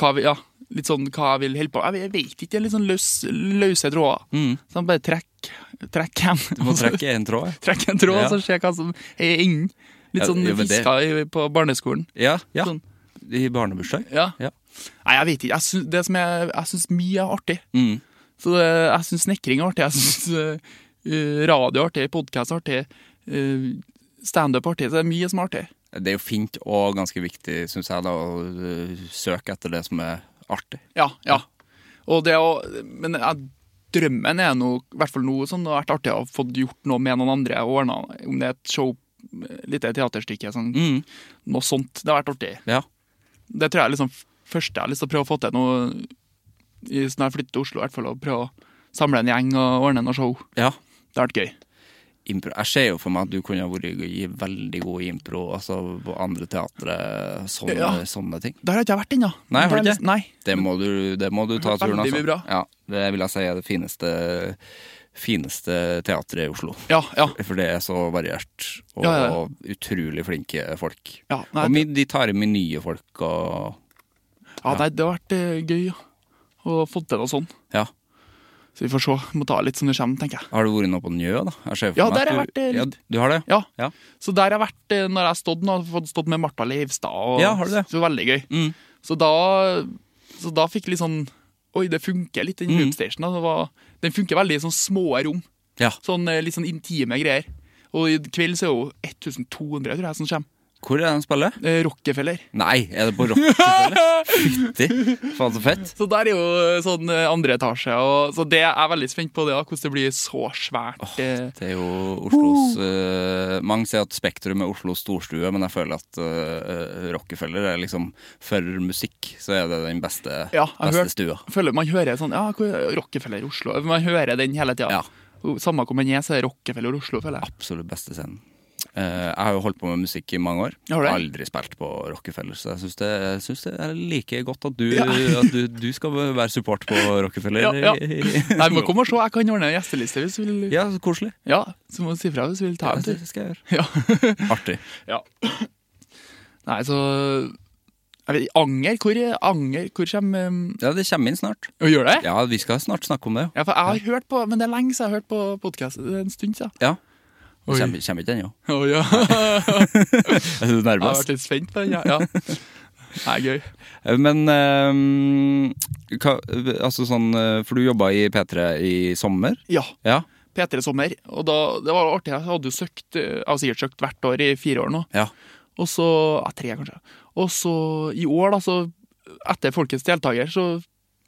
hva, vi- ja, litt sånn hva jeg vil holde på med. Jeg vet ikke, jeg er litt sånn løs, løse tråder. Mm. Sånn bare trekk trekk en, Du må trekke en tråd. jeg. trekk en tråd, Ja. så se hva som er innen. Litt Ja, sånn jo, men det- fiska i- på barneskolen. Ja, ja. Sånn. I barnebursdag. Ja. Ja. Nei, jeg vet ikke. Jeg syns, det som jeg, jeg syns mye er artig. Mm. Så det, jeg syns snekring er artig. Jeg syns eh, radio er artig, podkast er artig, eh, standup er artig. Så det er mye som er artig. Det er jo fint og ganske viktig, syns jeg, da, å eh, søke etter det som er artig. Ja, ja. Og det å Men jeg drømmen er nå, i hvert fall nå, sånn, det har vært artig å få gjort noe med noen andre. og ordnet, Om det er et show, et lite teaterstykke, sånn, Mm. noe sånt. Det har vært artig. Ja. Det tror jeg er liksom første jeg har lyst til å prøve å få til nå, i- når jeg flytter til Oslo, i hvert fall, å prøve å samle en gjeng og ordne noe show. ja. Det har vært gøy. Impro. Jeg ser jo for meg at du kunne ha vært g- veldig god i impro, altså på andre teatre, sånne, Ja. sånne ting. Der har ikke jeg vært ennå. Nei, har du Det er ikke? liksom- Nei. Det må du, det må du ta Veldig turen, altså. mye bra. Ja, det vil jeg si er det fineste, fineste teatret i Oslo. Ja, ja. For det er så variert, og Ja, ja, ja. utrolig flinke folk. Ja, nei, og my, de tar med nye folk og Ja, nei, det har vært eh, gøy ja. å få til noe sånn. Ja. Så vi får se. Må ta litt som det kommer, tenker jeg. Har du vært nå på Njø, da? Jeg ser for Ja, meg at der har jeg du- vært, eh, Ja, litt. du har det? Ja. Ja. Så der har jeg vært eh, når jeg har stått nå, har jeg fått stått med Martha Leivstad. Og, Ja, har du det? Så veldig gøy. Mm. Så da, så da fikk jeg litt sånn Oi, det funker litt, den Mm. roomstationen. da. Det var- Den funker veldig i sånn små rom. Ja. Sånn eh, litt sånn intime greier. Og i kveld så er jo 1200, tror jeg, som kommer. Hvor er det de spiller? Eh, Rockefeller. Nei, er det på Rockefeller? Fytti! Faen, så fett. Så der er jo eh, sånn eh, andre etasje. Og, så det jeg er veldig spent på det, da, hvordan det blir så svært. eh, Det er jo Oslos eh, Mange sier at Spektrum er Oslos storstue, men jeg føler at eh, eh, Rockefeller er liksom For musikk så er det den beste, Ja, jeg beste hørt- stua. føler Man hører sånn ja, hvor er Rockefeller Oslo. Man hører den hele tida. Ja. Samme hvor man er, så er det Rockefeller Oslo, føler jeg. Absolutt beste scenen. Eh, jeg har jo holdt på med musikk i mange år. Har du det? Aldri spilt på Rockefeller, så jeg syns det, jeg synes det er like godt at du, at du, du skal være support på Rockefeller. Ja, ja. Nei, men kom og se, jeg kan ordne en gjesteliste hvis du vil. Ja, så koselig. Ja, så må du si fra hvis du vil ta en det tur. skal jeg gjøre. Ja. Artig. ja. Nei, så jeg vet, ikke, Anger? Hvor er Anger? Hvor kommer um, Ja, det kommer inn snart. Å, Gjør det? Ja, vi skal snart snakke om det. Ja, for jeg har hørt på Men det er lenge siden jeg har hørt på podkast. En stund siden. Ja. Oi. Det kommer, kommer ikke ennå. Å ja. jeg Er du har nervøs? vært litt spent på den, ja. ja. Nei, gøy. Eh, Men ehm, hva, altså sånn, eh, For du jobba i P3 i sommer? Ja. Ja. P3 Sommer. Og da, det var artig. Jeg hadde jo søkt, eh, jeg har sikkert søkt hvert år i fire år nå. Ja. Og så, ja, tre kanskje. Og så i år, da, så etter Folkets deltaker, så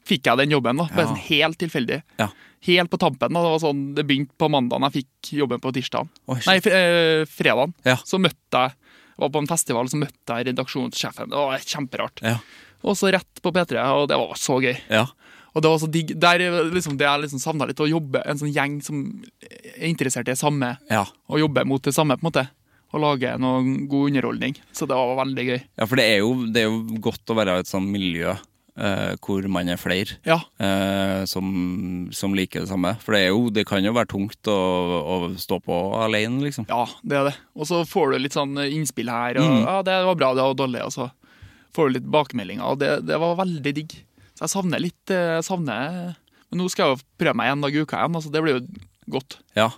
fikk jeg den jobben. da, Bare Ja. sånn helt tilfeldig. Ja. Helt på tampen. da, Det var sånn, det begynte på mandagen, jeg fikk jobben på tirsdagen. Oi, shit. Nei, fr- eh, fredagen. Ja. Så møtte jeg var på en festival så møtte jeg redaksjonssjefen. Det var kjemperart. Ja. Og så rett på P3, og det var så gøy. ja. Og det var så digg. Der er liksom, det jeg liksom savna litt, å jobbe en sånn gjeng som er interessert i det samme, Ja. og jobbe mot det samme, på en måte. Og lage noe god underholdning. Så det var veldig gøy. Ja, for det er, jo, det er jo godt å være i et sånt miljø eh, hvor man er flere. Ja. eh, som, som liker det samme. For det, er jo, det kan jo være tungt å, å stå på alene, liksom. ja, det er det. Og så får du litt sånn innspill her, og ja, det var bra, det var dårlig, og så får du litt bakmeldinger, og det, det var veldig digg. Så jeg savner litt eh, jeg savner Men nå skal jeg jo prøve meg en dag i uka igjen, altså det blir jo godt. Ja.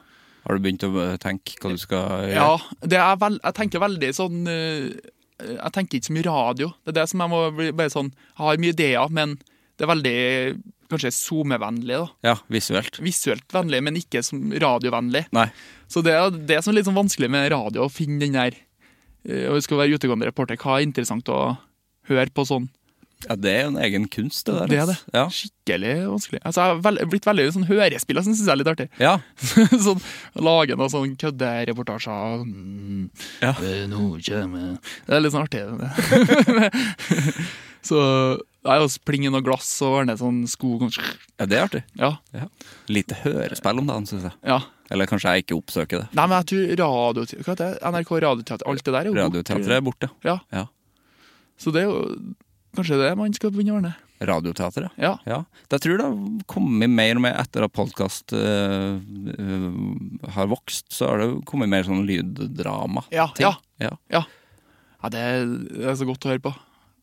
Har du begynt å eh, tenke hva du skal gjøre? Ja, det er vel, jeg tenker veldig sånn eh, Jeg tenker ikke så mye radio. Det er det som jeg må bli bare sånn Jeg har mye ideer, men det er veldig kanskje SoMe-vennlig. da Ja, visuelt? Visuelt vennlig, men ikke som radiovennlig. Nei. Så det er det som er litt sånn vanskelig med radio, å finne den der eh, Og vi skal være utegående reporter, hva er interessant å høre på sånn? Ja, det er jo en egen kunst, det der. Det er det. altså. Ja. Skikkelig vanskelig. Altså, jeg har vel, blitt veldig sånn hørespiller, som syns jeg er litt artig. ja. sånn, lage noen sånn køddereportasjer. Mm. Ja. Eh, nå kommer- Det er litt sånn artig. det. så det er jo splinge noen glass og ordne sånn sko ja, det er artig. Ja. Ja. Lite hørespill om dagen, syns jeg. ja. Eller kanskje jeg ikke oppsøker det. Nei, men jeg tror radio, hva heter det? NRK Radioteater, alt det der er jo borte. Radioteatret er borte. Ja, Ja. så det er jo kanskje det man skal begynne å ordne. Radioteatret, ja. Ja. ja. Jeg tror det har kommet mer og mer etter at podkast har vokst, så har det jo kommet mer sånn lyddrama. Ja, ja. ja. ja. ja det, er, det er så godt å høre på.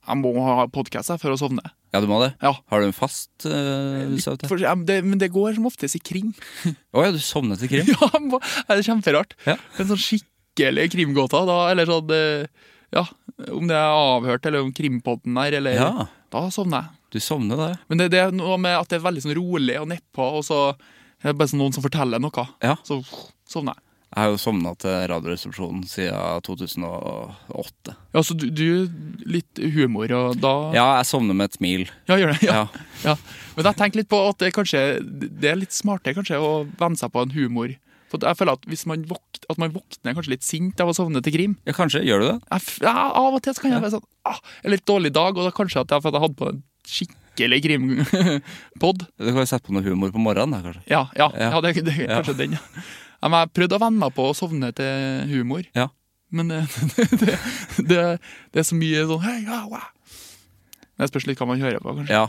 Jeg må ha podkast før jeg sovner. Ja, du må det? Ja. Har du en fast eh, søvn? For, ja, men det, men det går som oftest i krim. Å ja, du sovnet til krim? Ja, han må- det er kjemperart. Ja. En sånn skikkelig krimgåte, da, eller sånn eh, Ja, om det er avhørt, eller om krimpodden er, eller Ja. Da sovner jeg. Du sovner da, Men det, det er noe med at det er veldig sånn rolig og nedpå, og så er det bare sånn noen som forteller noe. ja? Så sovner jeg. Jeg har jo sovna til Radioresepsjonen siden 2008. Ja, så du, du litt humor, og da Ja, jeg sovner med et smil. Ja, gjør det. Ja. Ja. Ja. Men jeg tenker litt på at det, kanskje, det er litt smartere kanskje å venne seg på en humor. For jeg føler at hvis man, våk, at man våkner kanskje litt sint av å sovne til krim Ja, kanskje. Gjør du det? jeg, f- ja, Av og til så kan jeg være sånn ah, En litt dårlig dag, og da kanskje at jeg, for at jeg hadde på en skikkelig krimpod. Du kan jo sette på noe humor på morgenen, da, kanskje. Ja, ja, ja. Ja. det, det er kanskje den. ja. Ja, men jeg prøvde å venne meg på å sovne til humor, Ja. men det, det, det, det er så mye sånn hei, ja, wow. Men Det spørs litt hva man hører på, kanskje. Ja.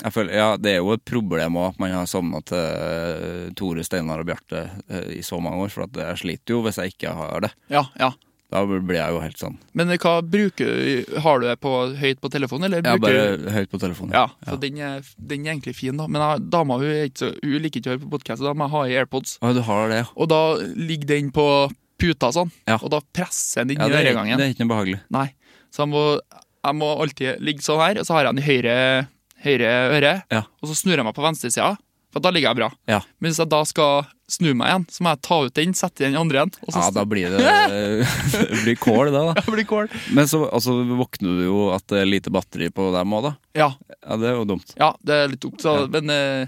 Jeg føler, ja, det er jo et problem også at man har sovna til eh, Tore, Steinar og Bjarte eh, i så mange år, for at jeg sliter jo hvis jeg ikke har det. Ja, ja. Da blir jeg jo helt sånn Men hva bruker Har du det på, høyt på telefonen, eller Jeg er bruker bare høyt på telefonen. Ja, så Den, er, den er egentlig fin, da. Men jeg, dama hun, er ikke, så- hun liker ikke å høre på podkast, da må jeg ha i AirPods. Å, du har det, ja. Og da ligger den på puta sånn, Ja. og da presser den inn ja i det, er, øregangen. det er ikke noe behagelig. Nei. Så jeg må, jeg må alltid ligge sånn her, og så har jeg den i høyre, høyre øre, Ja. og så snur jeg meg på venstresida, for da ligger jeg bra. Ja. Men hvis jeg da skal snu meg igjen, så må jeg ta ut den, sette den andre igjen, og så ja, da blir det, det blir kål, da. da. det blir kål. Men så altså, våkner du jo at det er lite batteri på dem òg, da. Ja, Ja, det er jo dumt. ja, det er litt dumt, så, men eh,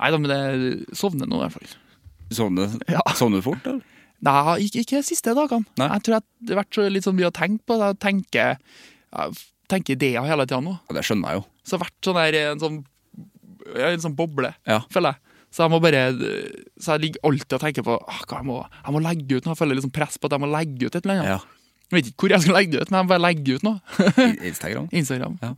Nei da, men jeg sovner nå i hvert fall. Sovner Ja. sovner du fort, eller? Nei, ikke, ikke de siste dagene. Nei. Jeg tror jeg, det har vært så, litt sånn mye å tenke på. Jeg tenker, jeg f- tenker ideer hele tida nå. Ja, det skjønner jeg jo. Så jeg har vært sånn der, i en sånn, ja, i en sånn boble, Ja. føler jeg. Så jeg må bare Så jeg ligger alltid og tenker på «Ah, hva jeg må, jeg må legge ut noe. Jeg føler liksom press på at jeg må legge ut et eller annet. Ja. Jeg vet ikke hvor jeg skal legge det ut, men jeg må bare legge ut noe. I- Instagram. Instagram. Ja.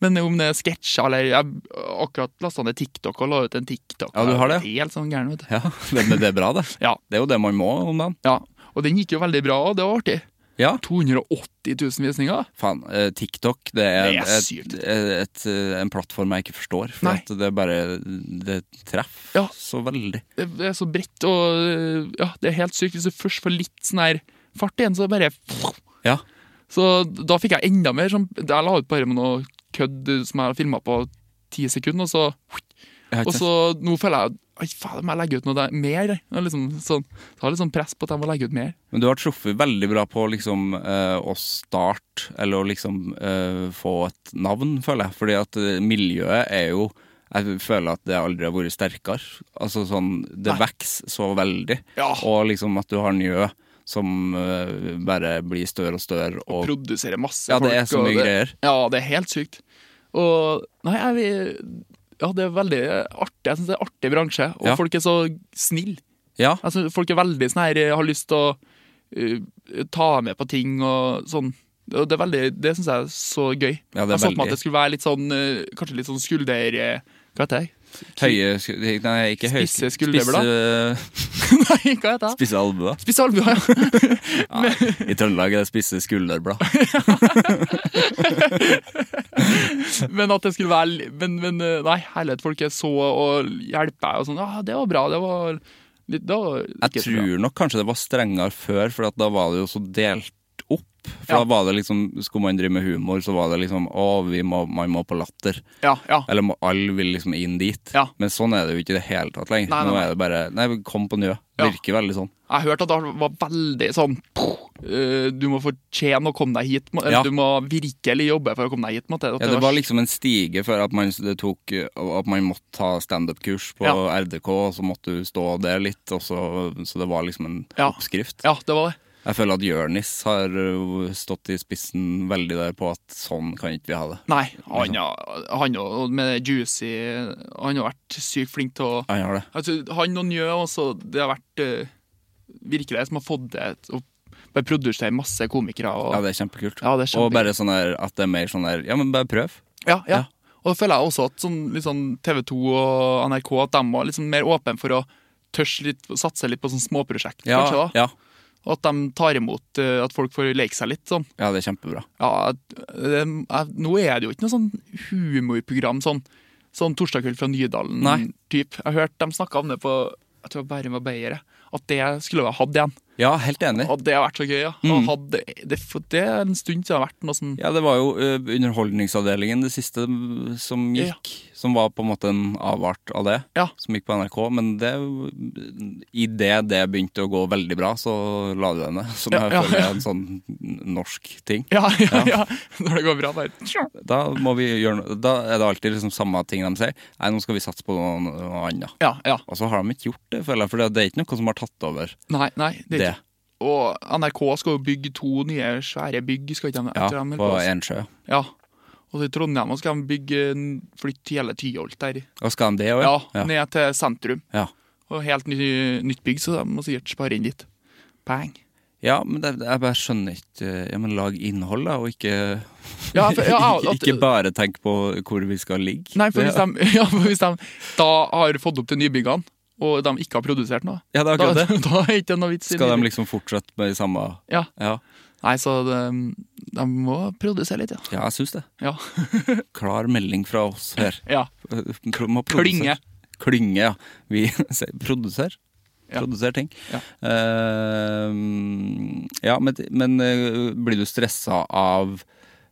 Men om det er sketsjer eller Jeg akkurat lasta ned TikTok og la ut en TikTok. Ja, du har det. Jeg er Helt sånn gæren, vet du. Ja, men det er bra, det. Ja. Det er jo det man må om dagen. ja. Og den gikk jo veldig bra, og det var artig. Ja. 280 000 visninger. Faen, eh, TikTok det er, Det er et, sykt. et, et, eh, en plattform jeg ikke forstår. For Nei. at det er bare Det treffer Ja. så veldig. Det det er så bredt og Ja, det er helt sykt. Hvis du først får litt sånn her fart igjen, så bare Ja. Så da fikk jeg enda mer sånn Jeg la ut bare med noe kødd som jeg filma på ti sekunder, og så Jeg har ikke Og så nå føler jeg Oi, faen, må jeg legge ut noe der, mer? jeg». Det er liksom sånn, så har jeg litt sånn press på at jeg må legge ut mer. Men du har truffet veldig bra på liksom, eh, å starte, eller å liksom eh, få et navn, føler jeg. Fordi at eh, miljøet er jo Jeg føler at det aldri har vært sterkere. Altså sånn, Det vokser så veldig. Ja. Og liksom at du har Njø som eh, bare blir større og større. Og, Produsere masse Ja, det er folk, så og mye det- greier. Ja, det er helt sykt. Og Nei, jeg vil Ja, det er veldig artig. Jeg syns det er en artig bransje, og Ja. folk er så snille. ja, Altså, folk er veldig sånn her, har lyst til å eh, ta med på ting og sånn. Og det er veldig, det syns jeg er så gøy. Ja, det er jeg så for meg veldig. at det skulle være litt sånn, eh, kanskje litt sånn skulder... eh, Hva heter det? høye sku- Nei, ikke høye Spisse skulderblader? Spisse, Nei, hva heter det? spisse albuer. Spisse albuer, ja. Nei, I Trøndelag er det spisse skulderblad. Men at det skulle være li- Men, men eh, nei, herlighet, folk er så og hjelper og sånn. Ja, det var bra, det var litt det var Jeg ikke så bra. tror nok kanskje det var strengere før, for at da var det jo så delt opp. For Ja. da var det liksom, Skulle man drive med humor, så var det liksom Å, vi må, man må på latter. Ja, ja. Eller må- alle vil liksom inn dit. Ja. Men sånn er det jo ikke i det hele tatt lenger. Nei, nei, Nå nei. er det bare Nei, kom på Njø. Ja. Virker veldig sånn. Jeg hørte at det var veldig sånn eh, Du må fortjene å komme deg hit. må- Ja. Du må virkelig jobbe for å komme deg hit. på en måte. At Ja, Det var liksom en stige før at man, det tok, at man måtte ta standup-kurs på Ja. RDK, og så måtte du stå der litt, og så, så det var liksom en Ja. oppskrift. Ja, det var det. Jeg føler at Jørnis har ø, stått i spissen veldig der på at sånn kan ikke vi ha det. Nei, han, har- han har- og med det Juicy Han har vært sykt flink til å Han har det. altså, Han og Njø også, det har vært eh, virkelig det som har fått det til å bare produsere masse komikere. Og, Ja, det er kjempekult. Ja, det er Og bare sånn der, at det er mer sånn der Ja, men bare prøv. Ja, Ja. ja. Og da føler jeg også at sånn, litt sånn TV 2 og NRK At de var liksom mer åpne for å tørs litt, satse litt på sånn småprosjekt, Ja, kanskje. da ja. Og at de tar imot eh, at folk får leke seg litt. sånn ja, det er kjempebra. ja, det, jeg, Nå er det jo ikke noe sånn humorprogram sånn, sånn Torsdag kveld fra Nydalen Nei. typ. Jeg hørte de snakka om det på Jeg tror Bærum og Beyer. jeg. At det skulle jeg hatt igjen. Ja, helt enig. Og det har vært så gøy, ja. Mm. Og Hadde, det, for det er en stund siden det har vært noe sånn Ja, det var jo eh, Underholdningsavdelingen det siste mm, som gikk. Som var på en måte en avart av det, Ja. som gikk på NRK. Men det idet det begynte å gå veldig bra, så la du henne. Som Ja, jeg ja, føler ja. er en sånn norsk ting. Ja, ja, ja. Når det går bra, bare Da, må vi gjøre, no- da er det alltid liksom samme ting de sier. Nei, nå skal vi satse på noe, noe annet. Ja, ja. Og så har de ikke gjort det, føler jeg. For det er ikke noe som har tatt over Nei, nei. Det. det. er ikke- Og NRK skal jo bygge to nye svære bygg, skal ikke de? Ja, etter dem, eller på plass? Ensjø. Ja. Og så i Trondheim skal de bygge en- flytte hele Tyholt der. Og skal de det òg? Ja, ned til sentrum. Ja. Og helt ny, nytt bygg, så de må sikkert spare inn litt. Bang. ja, men det, jeg bare skjønner ikke Ja, men lag innhold, da, og ikke Ja, for, ja, Ikke- at, ikke bare tenk på hvor vi skal ligge. Nei, for Det- hvis, de, ja, for hvis de da har fått opp til nybyggene, og de ikke har produsert noe, Ja, det er da, akkurat det. da er ikke det noe vits. Skal i liksom- de nybygg. liksom fortsette med de samme Ja. Ja, Nei, så de, de må produsere litt, ja. ja jeg syns det. Ja. Klar melding fra oss her. ja. Pro- må Klynge. produsere. Klynge, ja. Vi sier produser. Ja. Produser ting. Ja. Ehm, ja, men, men eh, blir du stressa av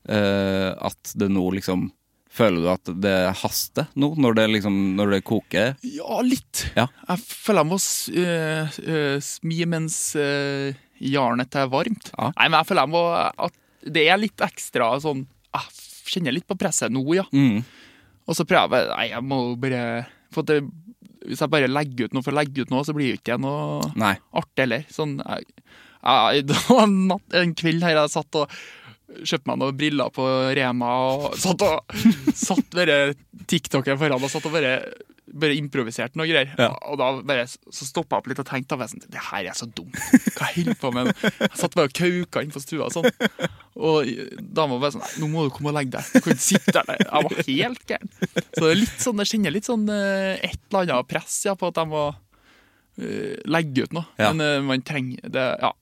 eh, at det nå liksom Føler du at det haster nå, når det liksom Når det koker? Ja, litt. Ja. Jeg føler jeg må s- eh, eh, smi mens eh, jarnet er varmt. Ja. Nei, men jeg føler jeg må at det er litt ekstra sånn Jeg kjenner litt på presset nå, ja. Mm. Og så prøver jeg Nei, jeg må jo bare For at det, hvis jeg bare legger ut noe for å legge ut noe, så blir det jo ikke noe Nei. artig heller. Sånn, jeg, jeg, det var en, natt, en kveld her jeg satt og kjøpte meg noen briller på Rema og satt og satt bare TikTok-en foran og satt og bare, bare improviserte noe greier. Ja. Og da bare s- så stoppa jeg opp litt og tenkte av meg sånn, Det her er så dumt. Hva jeg holder på med nå? Jeg satt bare og kauka inn på stua og sånn. Og dama bare sånn «Nei, Nå må du komme og legge deg. Du kan ikke sitte der. Nei, Jeg var helt gæren. Så det er litt sånn, jeg kjenner litt sånn eh, et eller annet press ja, på at jeg må eh, legge ut noe. Ja. Men eh, man trenger det. Ja.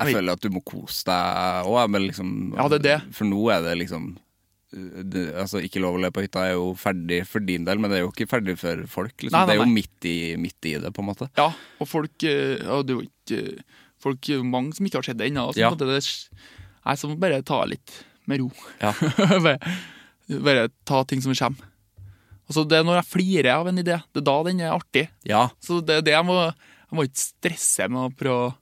Jeg Oi. føler at du må kose deg òg, men liksom Ja, det er det. For nå er det liksom uh, det, Altså, Ikke lov å le på hytta er jo ferdig for din del, men det er jo ikke ferdig for folk. liksom Nei, nei, Det er jo nei. midt i, midt i det, på en måte. ja. Og folk eh, ja, det er jo ikke Folk er jo mange som ikke har sett det ennå. og sånn Ja. at det er- Nei, så må jeg bare ta litt med ro. Ja. bare, bare ta ting som kommer. Og så det er når jeg flirer av en idé, det er da den er artig. Ja. Så det er det jeg må Jeg må ikke stresse med å prøve å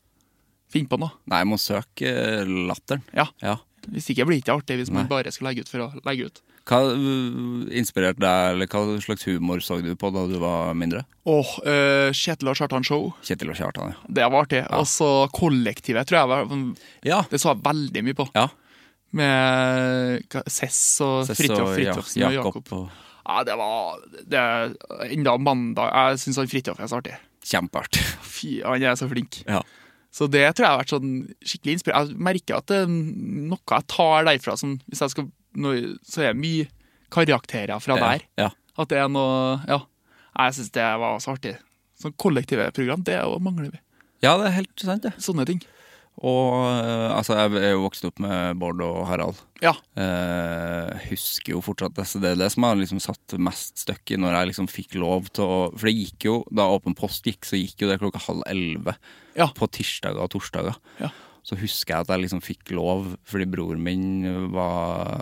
finne på noe. Nei, jeg må søke uh, latteren. Ja, Ja. Hvis ikke blir det ikke artig hvis man bare skal legge ut for å legge ut. Hva uh, inspirerte deg, eller hva slags humor så du på da du var mindre? Åh, eh, Kjetil og Kjartan Show, Kjetil og Kjartan, ja. det var artig. Og så Kollektivet, tror jeg var, Ja. det så jeg veldig mye på. ja. Med hva- Cess og Sess Fridtjof og Ja- Fridtjofsen og Jakob. og Ja, det var det, Enda mandag Jeg syns Fridtjof er så artig. Kjempeartig. Fy, han er så flink. Ja. Så det tror jeg har vært sånn skikkelig inspirert. Jeg merker at det er noe jeg tar derfra, som hvis jeg skal nå, Så er det mye karakterer fra der. Ja. At det er noe Ja. Jeg syns det var så artig. Sånn kollektive program, det er jo- mangler vi. ja, det er helt sant, det. Sånne ting. Og uh, altså, jeg er jo vokst opp med Bård og Harald. Ja. Eh, husker jo fortsatt det, så det er det som har liksom satt mest støkk i når jeg liksom fikk lov til å For det gikk jo, da Åpen post gikk, så gikk jo det klokka halv elleve Ja. på tirsdager og torsdager. Ja. Så husker jeg at jeg liksom fikk lov, fordi broren min var,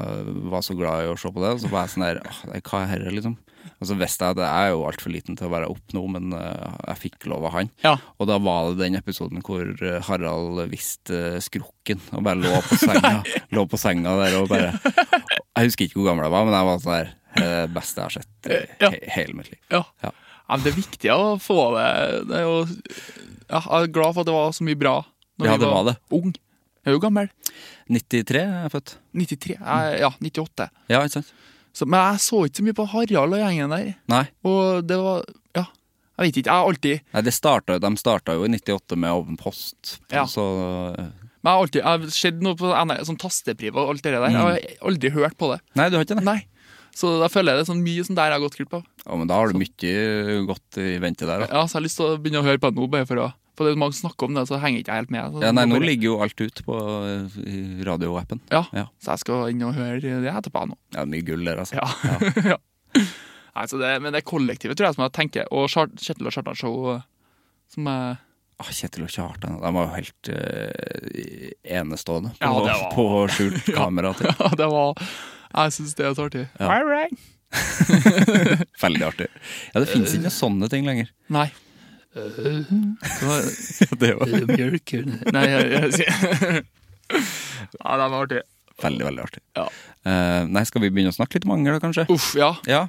var så glad i å se på det. Og så var jeg sånn der «Åh, nei, Hva er dette, liksom? Og så visste jeg at jeg er jo altfor liten til å være opp nå, men eh, jeg fikk lov av han. Ja. Og da var det den episoden hvor eh, Harald viste eh, skrukken og bare lå på senga, lå på senga der og bare Jeg husker ikke hvor gammel jeg var, men jeg var sånn der «Det er Det beste jeg har sett eh, Ja. he hele mitt liv. ja. Ja. Men det er viktig å få det Det er jo ja, Jeg er glad for at det var så mye bra når Ja, vi det var, var det. ung. Jeg er jo gammel. 93 er jeg født. 93. Jeg, ja, 98. Ja, ikke sant? Så, men jeg så ikke så mye på Harald og gjengen der. Nei. Og det var Ja, jeg vet ikke. Jeg har alltid Nei det starta, de starta jo i 98 med Åpen post, Ja. så eh, Men jeg har alltid Jeg har sett noe på NR, sånn tastepriv og alt det der. Jeg Mm. har aldri hørt på det. Nei, du har ikke det? Nei. Så da føler jeg det er sånn mye sånn der jeg har gått glipp av. Ja, men da har du mye godt i vente der. altså. Da. Ja, Så jeg har lyst til å begynne å høre på det nå, bare for å For det er mange som snakker om det, så henger ikke jeg helt med. Så Ja, nei, nå bare- ligger jo alt ut på eh, i radioappen. ja. Ja. så jeg skal inn og høre det etterpå jeg nå. Ja, mye gull der, altså. Ja. ja. Nei, så det, men det kollektivet tror jeg eh, som jeg tenker, og Kjar- Kjetil og Kjartan Show som jeg ah, Kjetil og Kjartan De var jo helt eh, enestående på, Ja, det var- på skjult kamera. til. Ja, det var Jeg syns det er så artig. All right. Veldig artig. Ja, Det finnes ikke sånne ting lenger. Nei. Det var- Det var Nei, jeg, jeg, sier- Ja, den var artig. veldig, veldig artig. Ja. Eh, nei, skal vi begynne å snakke litt om anger, da, kanskje? Uff, ja. Ja.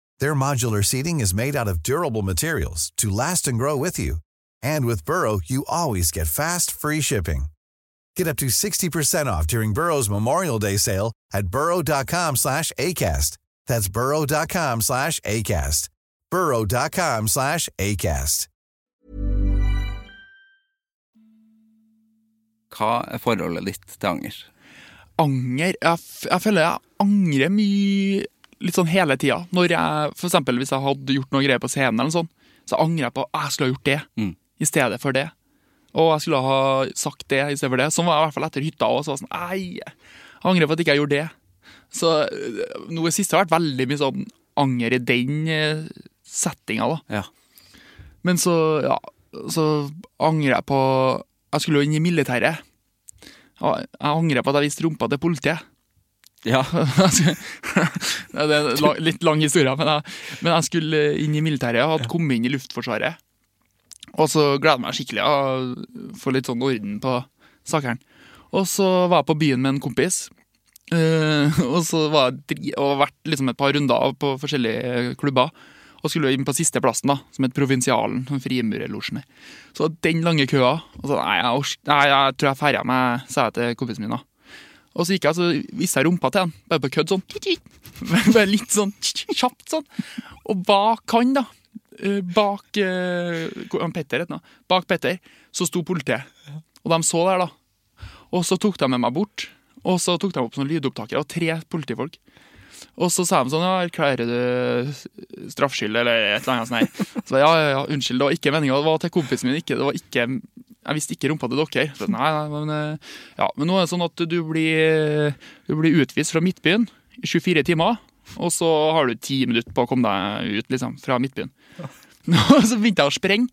Their modular seating is made out of durable materials to last and grow with you. And with Burrow, you always get fast, free shipping. Get up to 60% off during Burrow's Memorial Day sale at burrow.com slash ACAST. That's burrow.com slash ACAST. burrow.com slash ACAST. Hva er forholdet ditt til anger? Anger jeg, f- jeg føler jeg angrer mye litt sånn hele tida. Når jeg, for eksempel hvis jeg hadde gjort noe greier på scenen, eller sånn, så angrer jeg på at jeg skulle ha gjort det Mm. i stedet for det. Og jeg skulle ha sagt det i stedet for det. Sånn var jeg i hvert fall etter hytta òg. Så var jeg sånn, Ei, jeg angrer på at jeg ikke gjorde det. Så øh, noe siste har vært veldig mye sånn anger i den settinga, da. Ja. Men så, ja, så angrer jeg på Jeg skulle jo inn i militæret. Og Jeg angrer på at jeg viste rumpa til politiet. ja. Nei, det er en lang, litt lang historie, men jeg, men jeg skulle inn i militæret og hadde kommet inn i Luftforsvaret. Og så gleder jeg meg skikkelig å få litt sånn orden på sakene. Og så var jeg på byen med en kompis. eh, og så var jeg dri- og vært liksom et par runder på forskjellige klubber. Og skulle inn på siste plassen, da, som het Provinsialen. sånn Frimurerlosjen. der. Så den lange køa. Og så, nei, jeg, ors- nei, jeg tror jeg ferder meg, sa jeg til kompisen min. da. Og så gikk jeg, så viste jeg rumpa til han, bare på kødd sånn. Bare litt sånn kjapt sånn. Og bak han, da, eh, bak eh, hvor- han Petter, het han da. bak Petter, så sto politiet. Og de så det her, da. Og så tok de med meg bort. Og så tok de opp sånn lydopptakere, og tre politifolk. Og så sa de sånn ja, 'Erklærer du straffskyld?' eller et eller annet sånt. her. Så ja, ja, ja, unnskyld, det var ikke meninga. Det var til kompisen min. ikke, det var ikke, Jeg visste ikke rumpa til dere. Så, nei, nei, men, eh, ja, men nå er det sånn at du blir, du blir utvist fra Midtbyen i 24 timer. Og så har du ti minutter på å komme deg ut liksom, fra Midtbyen. Og så begynte jeg å sprenge.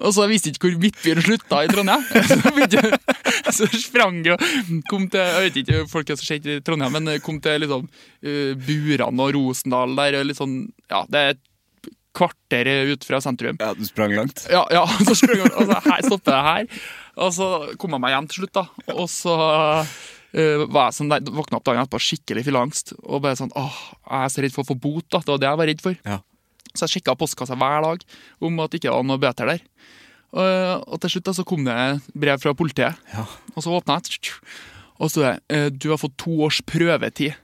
Og så visste jeg ikke hvor Midtbyen slutta i Trondheim. Så, begynte, jeg- så sprang jeg og kom til Jeg vet ikke folk er så kjent i Trondheim, men kom til liksom, eh, Buran og Rosendal der. og Litt sånn, ja, det er et kvarter ut fra sentrum. ja, du sprang langt? Ja, ja så sprang jeg, og så her, stoppet jeg her. Og så kom jeg meg hjem til slutt, da. Og så eh, var jeg sånn, der- våkna opp dagen etterpå skikkelig fylleangst. Og bare sånn åh, jeg er så redd for å få bot, da. Det var det jeg var redd for. Ja. Så jeg sjekka postkassa hver dag om at det ikke var noe bøter der. Og, og til slutt da, så kom det brev fra politiet. Ja. Og så åpna jeg, og så er det eh, du har fått to års prøvetid.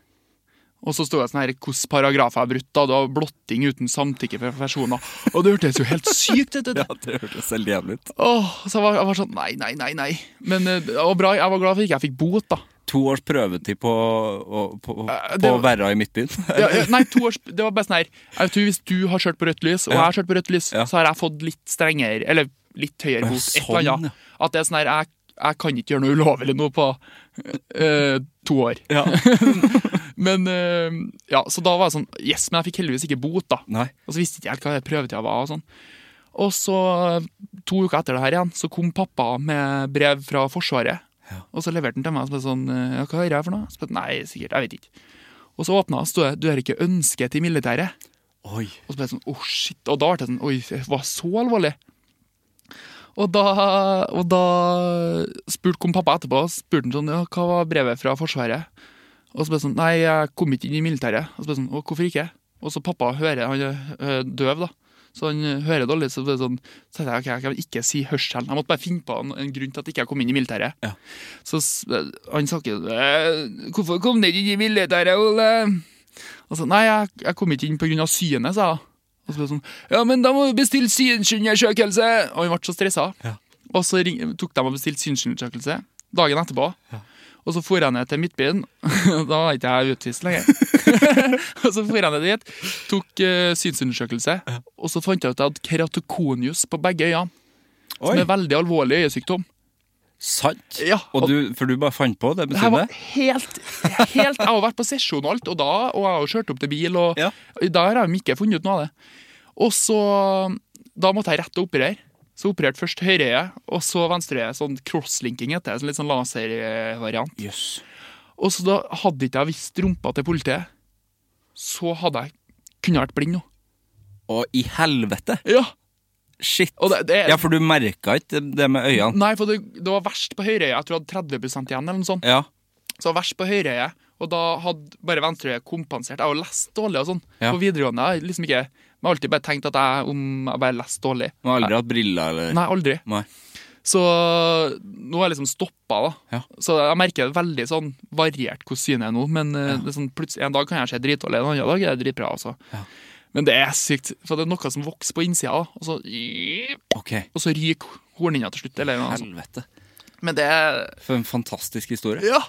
Og så sto det sånn her hvilke paragrafer jeg har brutt. da, Det var blotting uten samtykke fra personer. Og det hørtes jo helt sykt ut! ut. det hørtes helt jævlig ut. Åh, så jeg var, jeg var sånn Nei, nei, nei. nei Men eh, det var bra, jeg var glad for ikke jeg fikk bot, da. To års prøvetid på, å- på, på, Eh, det på var- Verra i Midtbyen. Ja, ja, nei, to års, Det var bare sånn her jeg tror Hvis du har kjørt på rødt lys, og jeg har kjørt på rødt lys, Ja. så har jeg fått litt strengere Eller litt Å, høyere ja, bot. et eller sånn, ja. annet. At det er sånn her jeg, jeg kan ikke gjøre noe ulovlig nå på eh, to år. Ja. Men eh, Ja, så da var jeg sånn Yes, men jeg fikk heldigvis ikke bot, da. Nei. Og så visste ikke jeg helt hva prøvetida var. Og sånn. Og så, eh, to uker etter det her igjen, så kom pappa med brev fra Forsvaret. Og så leverte han til meg og så ble jeg sånn Ja, hva er det her for noe? Så ble jeg, Nei, sikkert. Jeg vet ikke. Og så åpna han, og stod det 'Du er ikke ønsket i militæret'. Oi. Og så ble jeg sånn, oh shit, og da ble jeg sånn, oi, det var så alvorlig. Og da, og da spurte kom pappa etterpå, og spurte han sånn, ja, hva var brevet fra Forsvaret? Og så ble jeg sånn, nei, jeg kom ikke inn i militæret. Og så ble jeg sånn, å, hvorfor ikke? Og så pappa hører, han er øh, døv da, så han øh, hører dårlig, så ble det sånn, så tenkte jeg, ok, jeg kan ikke si hørselen. Jeg måtte bare finne på en, en grunn til at jeg ikke kom inn i militæret. Ja. Så s- han sa ikke, «Eh, hvorfor kom du ikke inn i militæret, Ole? Og så, nei, jeg, jeg kom ikke inn på grunn av synet, sa jeg. Og så ble det sånn Ja, men da må vi bestille synsundersøkelse! Og vi ble så stressa. Og så ring, tok de og bestilte synsundersøkelse dagen etterpå. Og så for jeg ned til Midtbyen. da var ikke jeg utvist lenger. og så for jeg ned dit, tok eh, synsundersøkelse, og så fant jeg ut at jeg hadde keratokonius på begge øynene. Som Oi. er veldig alvorlig øyesykdom. Sant? Ja, og og- du, for du bare fant på det? Det her Betyr det? var helt, helt Jeg har vært på sesjon og alt, og da og jeg har jo kjørt opp til bil, og Ja. da har jeg jo ikke funnet ut noe av det. Og så Da måtte jeg rett og operere. Så opererte først høyre øye, og så venstre øye. Sånn crosslinking heter det. Sånn litt sånn laservariant. Jøss. Og så da hadde ikke jeg vist rumpa til politiet, så hadde jeg kunne vært blind nå. Og i helvete! Ja! Shit. Og det, det, Ja, for du merka ikke det med øynene? Nei, for det, det var verst på høyre øye. Jeg tror jeg hadde 30 igjen, eller noe sånt. Ja. Så jeg var verst på høyre øye, og da hadde bare venstre øye kompensert. Jeg har jo lest dårlig og sånn Ja. på videregående. Jeg har liksom ikke, jeg har alltid bare tenkt at jeg, om jeg bare leste dårlig. Du har aldri hatt briller, eller? Nei, aldri. Nei. Så nå har jeg liksom stoppa, da. Ja. Så jeg merker veldig sånn variert hvordan synet er nå. Men eh, det er sånn, plutselig, en dag kan jeg se dritdårlig, en annen dag er det dritbra. Altså. Men det er sykt, for det er noe som vokser på innsida, da, og så, Ok. og så ryker hornhinna til slutt. Eller noe sånt. Helvete. Men det er For en fantastisk historie. Ja!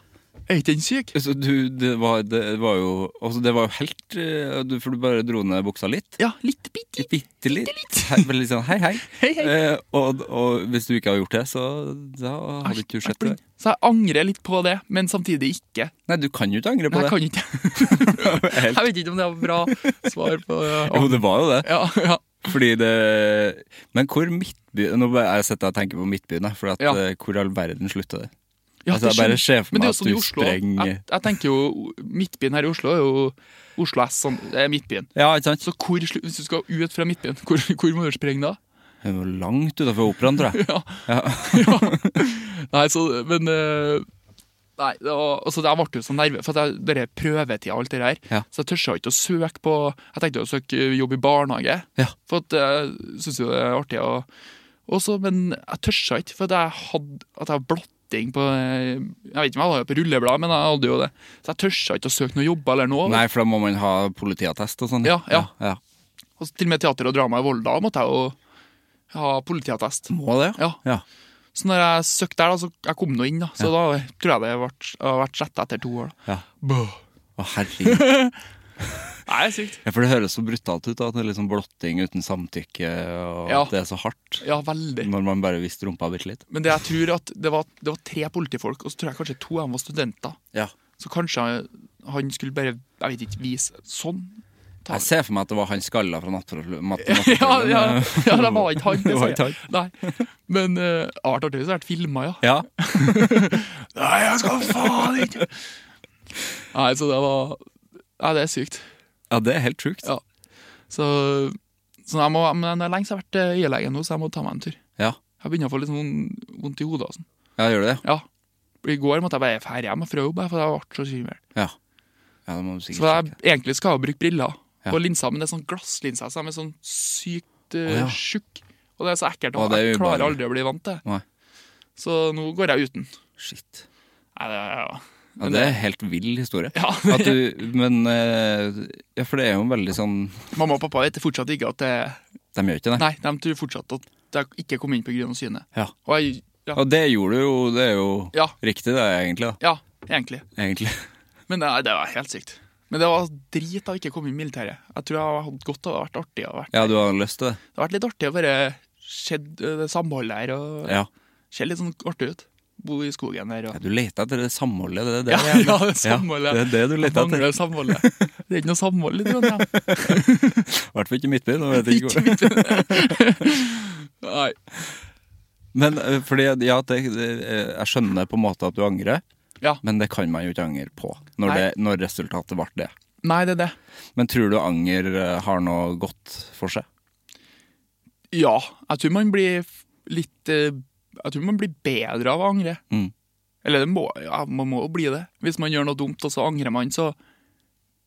Er ikke den syk? Altså, du, det, var, det var jo altså, Det var jo helt eh, du- For du bare dro ned buksa litt. Ja, litt bitte. Bitte litt. Hei, veldig sånn, hei, hei. Hei, hei. Eh, og, og hvis du ikke har gjort det, så da hadde ikke du sett det. Så jeg angrer litt på det, men samtidig ikke. Nei, du kan jo ikke angre på Jeg det. kan ikke. Jeg vet ikke om det var bra svar på Jo, det var jo det. Ja, ja. Fordi det Men hvor Midtbyen Nå bare- jeg sitter og tenker på Midtbyen, jeg, for at, Ja. eh, hvor i all verden slutter det? Ja, Altså, jeg bare skjønner. ser for Men det meg er jo at sånn i du Oslo. sprenger- Jeg, jeg tenker jo Midtbyen her i Oslo er jo Oslo S, sånn, det er midtbyen. Ja, ikke sant? Så hvor, slu- hvis du skal ut fra midtbyen, hvor, hvor må du sprenge da? Det var langt utafor operaen, tror jeg. Ja. Nei, så, men eh, Nei, det var, altså, jeg ble jo så nervøs, for at jeg, dere prøvetida og alt det her. Ja. Så jeg tørsa ikke å søke på Jeg tenkte å søke eh, jobb i barnehage, Ja. for at jeg syns jo det er artig. å- også, men jeg tørsa ikke, for at jeg hadde at jeg hadde blotting på eh, Jeg vet ikke om jeg hadde det på rulleblad, men jeg hadde jo det. Så jeg tørsa ikke å søke noen jobber eller noe. Nei, for da må man ha politiattest og sånn. Ja, ja. ja. Og så til og med teater og drama i Volda måtte jeg jo ha politiattest. Må det, Ja. ja. Så når jeg søkte der, da, så jeg kom nå inn, da. Så da tror jeg det har vært, har vært sletta etter to år. da. Ja. Bøh. Å, herregud. Nei, sykt. Ja, for det høres så brutalt ut, da, at det er liksom blotting uten samtykke, og Ja. at det er så hardt. Ja, veldig. Når man bare visste rumpa bitte litt. Men det jeg tror at det var, det var tre politifolk, og så tror jeg kanskje to av dem var studenter. Ja. Så kanskje han skulle bare jeg vet ikke, vise sånn. Ta- Jeg ser for meg at det var han skalla fra Nattpatruljen. Ja, ja, eh, ja, det var ikke han. Det var sier ikke jeg. Nei. Men uh, art artig hvis det hadde vært filma, ja. Ja. Nei, jeg skal faen ikke Nei, så det var Nei, det er sykt. ja, det er helt sjukt. Ja. Så, så jeg må, men det er lenge siden jeg har vært eh, øyelege nå, så jeg må ta meg en tur. Ja. Jeg begynner å få litt sånn vondt i hodet. og sånn. ja, gjør du det? Ja. I går måtte jeg bare dra hjem fra jobb, jeg, for jeg ble så svimmel. Ja. Ja, det må du Så sikkert jeg egentlig skal jeg jo bruke briller Ja. og linser, men det er sånn glasslinser som er sånn sykt eh, Å, ja. tjukk. Og det er så ekkelt. Å, Og det er jeg klarer ubehagelig. aldri å bli vant til det. Nei. Så nå går jeg uten. Shit. Nei, det er, ja. Ja, det er en helt vill historie. Ja. At du, men eh, Ja, for det er jo veldig sånn Mamma og pappa vet fortsatt ikke at det De gjør ikke det. Nei, de tror fortsatt at jeg ikke kom inn pga. synet. Ja. Og jeg, ja, Og det gjorde du jo Det er jo Ja. riktig, det, egentlig. da ja, egentlig. Egentlig. Men det, det var helt sykt. Men det var drit av ikke å komme i militæret. Jeg tror jeg hadde godt av det, vært artig. å vært. Ja, du har lyst til det? Det har vært litt artig å bare se det samholdet her. og Ja. Se litt sånn artig ut. Bo i skogen her. Ja, Og... Du leter etter det samholdet, det er det Ja, jeg- ja, det er samholdet. det er det du leter Jeg mangler etter. samholdet. Det er ikke noe samhold i Trondheim. I hvert fall ikke i Midtbyen. og jeg vet ikke hvor- Nei. Men eh, fordi, ja, det, det, eh, jeg skjønner på en måte at du angrer, Ja. men det kan man jo ikke angre på når, Nei. det, når resultatet ble det. Nei, det er det. Men tror du anger eh, har noe godt for seg? Ja. Jeg tror man blir f- litt eh, Jeg tror man blir bedre av å angre. Mm. Eller det må, ja, man må jo bli det. Hvis man gjør noe dumt, og så angrer man, så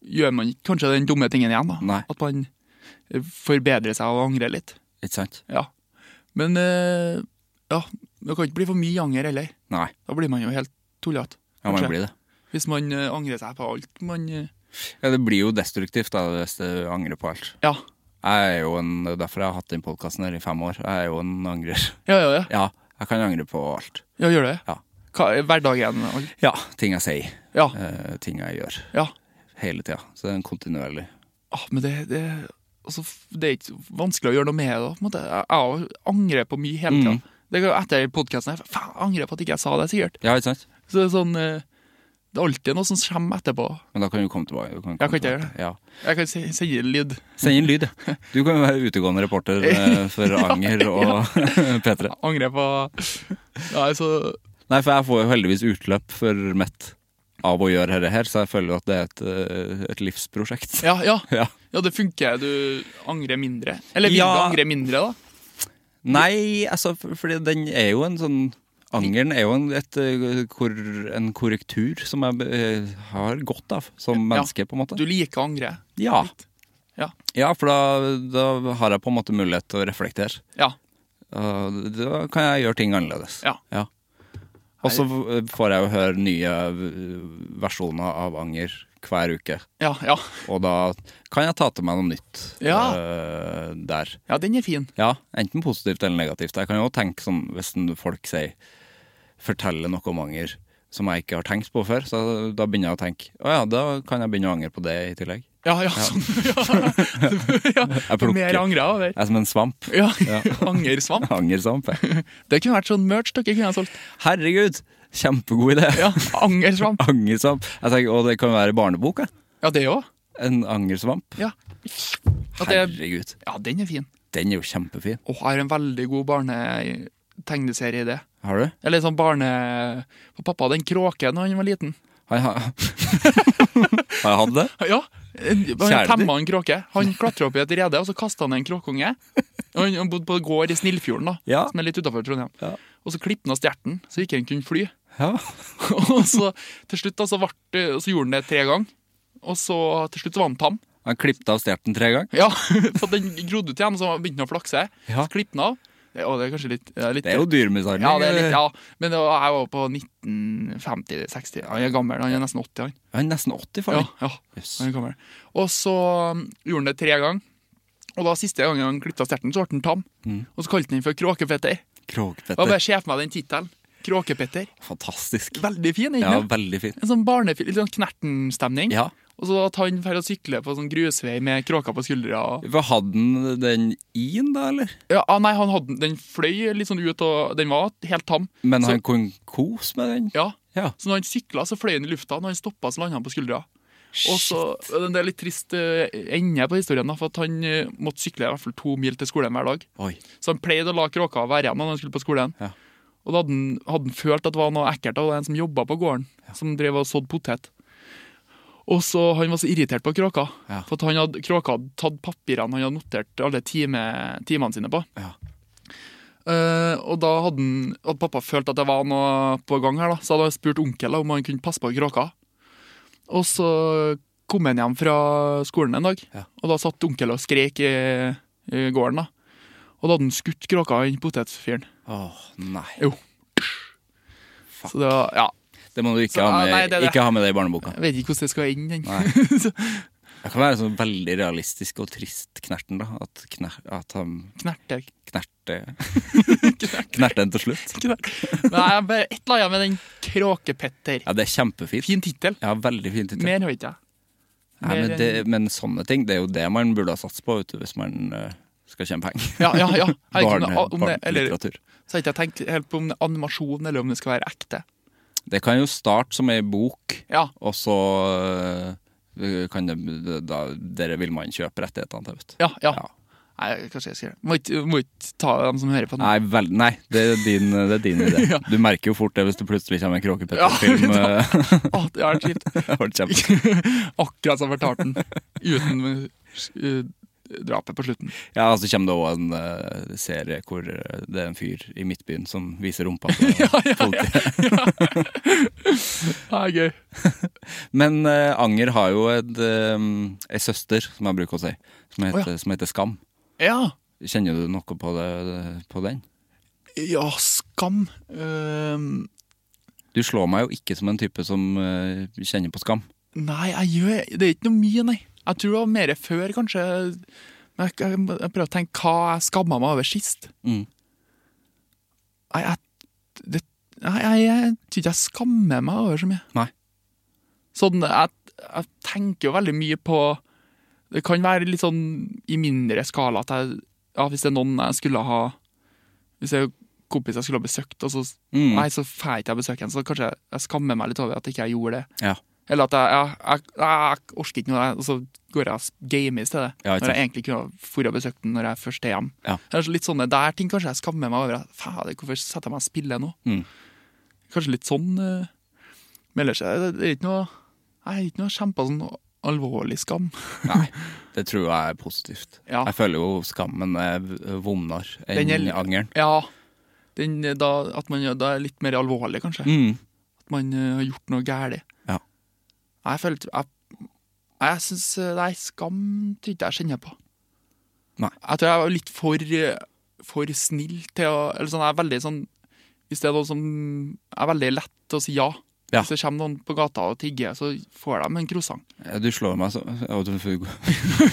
gjør man ikke kanskje den dumme tingen igjen. da. Nei. At man eh, forbedrer seg av å angre litt. Ikke sant? Ja. Men eh, ja, det kan ikke bli for mye anger heller. Nei. Da blir man jo helt tullete. Ja, man kanskje. blir det. Hvis man eh, angrer seg på alt man eh, Ja, det blir jo destruktivt da, hvis du angrer på alt. Ja. Jeg er jo en, det er derfor jeg har hatt den podkasten her i fem år. Jeg er jo en angrer. Ja, ja, ja. Ja, jeg kan angre på alt. ja gjør det. Ja. Hva, er hverdagen og- Ja, ting jeg sier. Ja. eh, ting jeg gjør. ja. Hele tida. Så det er en kontinuerlig Ah, men det, det, altså, det er ikke vanskelig å gjøre noe med det. På en måte. Jeg, jeg angrer på mye hele tida. Mm. Det går Etter podkasten her faen, jeg angrer på at ikke jeg sa det, sikkert. Ja, ikke sant? Så det er sånn eh, Det er alltid noe som kommer etterpå. Men da kan du komme tilbake. Du kan Jeg komme kan ikke gjøre tilbake. Ja. Jeg kan si- si lyd. Send inn lyd. ja. Du kan jo være utegående reporter eh, for Anger og P3. Angrer på Nei, så Nei, for jeg får jo heldigvis utløp for mitt av å gjøre dette her, så jeg føler jo at det er et, eh, et livsprosjekt. Ja, ja. Ja. Ja, det funker. Du angrer mindre. Eller vil Ja. du angre mindre, da? Nei, altså, for- fordi den er jo en sånn Angeren er jo en, et, eh, kor, en korrektur som jeg eh, har godt av som menneske, på en måte. Du liker å angre. Ja. Ja. ja, for da, da har jeg på en måte mulighet til å reflektere. Ja. Og da kan jeg gjøre ting annerledes. Ja. Og så f- får jeg jo høre nye v- versjoner av anger hver uke. Ja, ja. Og da kan jeg ta til meg noe nytt Ja. eh, der. ja den er fin. Ja, enten positivt eller negativt. Jeg kan jo tenke sånn hvis en- folk sier forteller noe om anger som jeg ikke har tenkt på før, så da begynner jeg å tenke å ja, da kan jeg begynne å angre på det i tillegg. Ja, ja, sånn. Ja. Jeg ja. Mer plukker. angrer over. Jeg er som en svamp. Ja. Angersvamp. Angersvamp. jeg. Det kunne vært sånn merch dere kunne ha solgt. Herregud, kjempegod idé! Ja, Angersvamp. Angersvamp. Jeg tenker, og det kan være barnebok, jeg. Ja, det òg. En angersvamp. Ja. At det, Herregud, ja, den er fin. den er jo kjempefin. Og har en veldig god barnetegneserieidé. Har du? Eller sånn barne... For pappa hadde en kråke da han var liten. Har jeg, har jeg hatt det? Ja, en- Han Kjæledyr. temma en kråke. Han klatra opp i et rede, og så kasta han en kråkeunge. Og Han han bodde på en gård i Snillfjorden, da, Ja. som er litt utafor Trondheim. Ja. Og så klippet han av stjerten, så ikke han kunne fly. Ja. Og så til slutt da, så, vart det- så gjorde han det tre ganger. Og så til slutt så var han tam. Han klippet av stjerten tre ganger. Ja, For den grodde ut igjen, og så begynte den å flakse. Ja. Så klippet den av. Det- Og det er kanskje litt, ja, litt Det er jo eh, dyremishandling. Ja, det er litt, ja. men det var, jeg var på 1950-60. Han er gammel, han er nesten 80. han. eh, Han er nesten 80, Ja, faen. ja, Jøss. han er gammel. Og så um, gjorde han det tre ganger. Og da siste gangen han klippet av sterten, så ble han tam. Mm. Og så kalte han den for Kråkepetter. Og jeg Kråkepetter. bare ser for meg den tittelen. Kråkepetter. Fantastisk. Veldig fin, Ja, egentlig. veldig fin. En sånn barnefilm, litt sånn Knerten-stemning. Ja. Og så at han drar og sykler på sånn grusvei med kråker på skuldra. og- Hva Hadde han den i-en, da, eller? Ja, ah, nei, han hadde, den- den fløy litt sånn ut, og den var helt tam. Men Så- han kunne kose med den? Ja. Ja. Så når han sykla, så fløy han i lufta. Når han stoppa, så landa han på skuldra. Og så, Det er litt trist eh, ende på historien, da, for at han eh, måtte sykle i hvert fall to mil til skolen hver dag. Oi. Så han pleide å la kråka være igjen når han skulle på skolen. Ja. Og da hadde han, hadde han følt at det var noe ekkelt av en som jobba på gården, som drev og sådde potet. Og så Han var så irritert på kråka, Ja. for at han hadde, kråka hadde tatt papirene han hadde notert alle time, timene sine på. Ja. Eh, og da hadde, han, hadde pappa følt at det var noe på gang her, da. så hadde han spurt onkel da, om han kunne passe på kråka. Og så kom han hjem fra skolen en dag, Ja. og da satt onkel og skrek i, i gården. da. Og da hadde han skutt kråka i potetfyren. Åh, nei. Jo. Så det var, ja, Det må du ikke, Så, ha, ah, med, nei, det er det. ikke ha med det i barneboka. Jeg vet ikke hvordan det skal inn, den. Nei. Så, Det kan være sånn veldig realistisk og trist knerten, da. At, kner, at han knerte, knerte Knerte den til slutt. knerte. Nei, jeg bare et eller annet med den kråkepetter. Ja, det er kjempefint. Fin tittel. Ja, veldig fin tittel. Mer har ikke jeg. Nei, mer men, det, men sånne ting, det er jo det man burde ha satsa på vet du, hvis man eh, skal tjene penger. Ja, ja, ja. Jeg vet ikke om det- Barne- om det- eller- Barnelitteratur. Så har ikke jeg tenkt helt på om det er animasjon, eller om det skal være ekte. Det kan jo starte som ei bok, Ja, og så eh, kan det da, Dere vil man kjøpe rettighetene til, vet du. ja, ja. Ja. Nei, kanskje jeg skal gjøre det. Må ikke- Må ikke ta dem som hører på nå. Nei, vel, nei det, er din, eh, det er din idé. Du merker jo fort det hvis det plutselig kommer en Kråkepetter-film. Å, det er kjipt. eh, og kjempe- Akkurat som fortalte den. Uten eh, drapet på slutten. ja, og så kommer det òg en eh, serie hvor eh, det er en fyr i Midtbyen som viser rumpa på politiet. Ja, gøy. Men eh, Anger har jo et, eh, ei søster, som jeg bruker å si, som heter, Å, ja. som heter Skam. Ja. Kjenner du noe på, det, på den? Ja, skam. Ehm, Du slår meg jo ikke som en type som eh, kjenner på skam. Nei, jeg gjør Det er ikke noe mye, nei. Jeg tror det var mer før, kanskje. Men jeg, jeg, må- jeg prøver å tenke hva jeg skamma meg over sist. Mm. Nei, jeg, det, nei, jeg, jeg tror ikke jeg skammer meg over så mye. Nei. Sånn, jeg, jeg tenker jo veldig mye på Det kan være litt sånn i mindre skala at jeg ja, Hvis det er noen jeg skulle ha Hvis det er kompis jeg skulle ha besøkt, og så Mm. Nei, så får jeg ikke besøke ham, så kanskje jeg, jeg skammer meg litt over at ikke jeg gjorde det. Ja. Eller at jeg, jeg, jeg, jeg orker ikke noe, og så går jeg og gamer i stedet. Ja, ikke når jeg sant. egentlig kunne ha for og besøkt den når jeg først er hjemme. Ja. Det er så Litt sånne der ting kanskje jeg skammer meg over. at, Fader, hvorfor setter jeg meg og spiller nå? Mm. Kanskje litt sånn. eh, Men ellers er det, det er ikke noe Jeg har ikke noe kjempa sånn alvorlig skam. Nei, det tror jeg er positivt. Ja. Jeg føler jo skammen er v- vondere enn Den er- angeren. Ja, den, eh, da, at man gjør- da er det litt mer alvorlig, kanskje. Mm. At man eh, har gjort noe galt. Ja. Jeg følte Jeg, jeg syns eh, Nei, skam tror ikke jeg kjenner på. Nei. Jeg tror jeg var litt for, eh, for snill til å Eller sånn, jeg er veldig sånn Hvis det er noe som Jeg er veldig lett til å si ja. Ja. Hvis det kommer noen på gata og tigger, så får de en croissant. Du slår meg så ja, du får gå-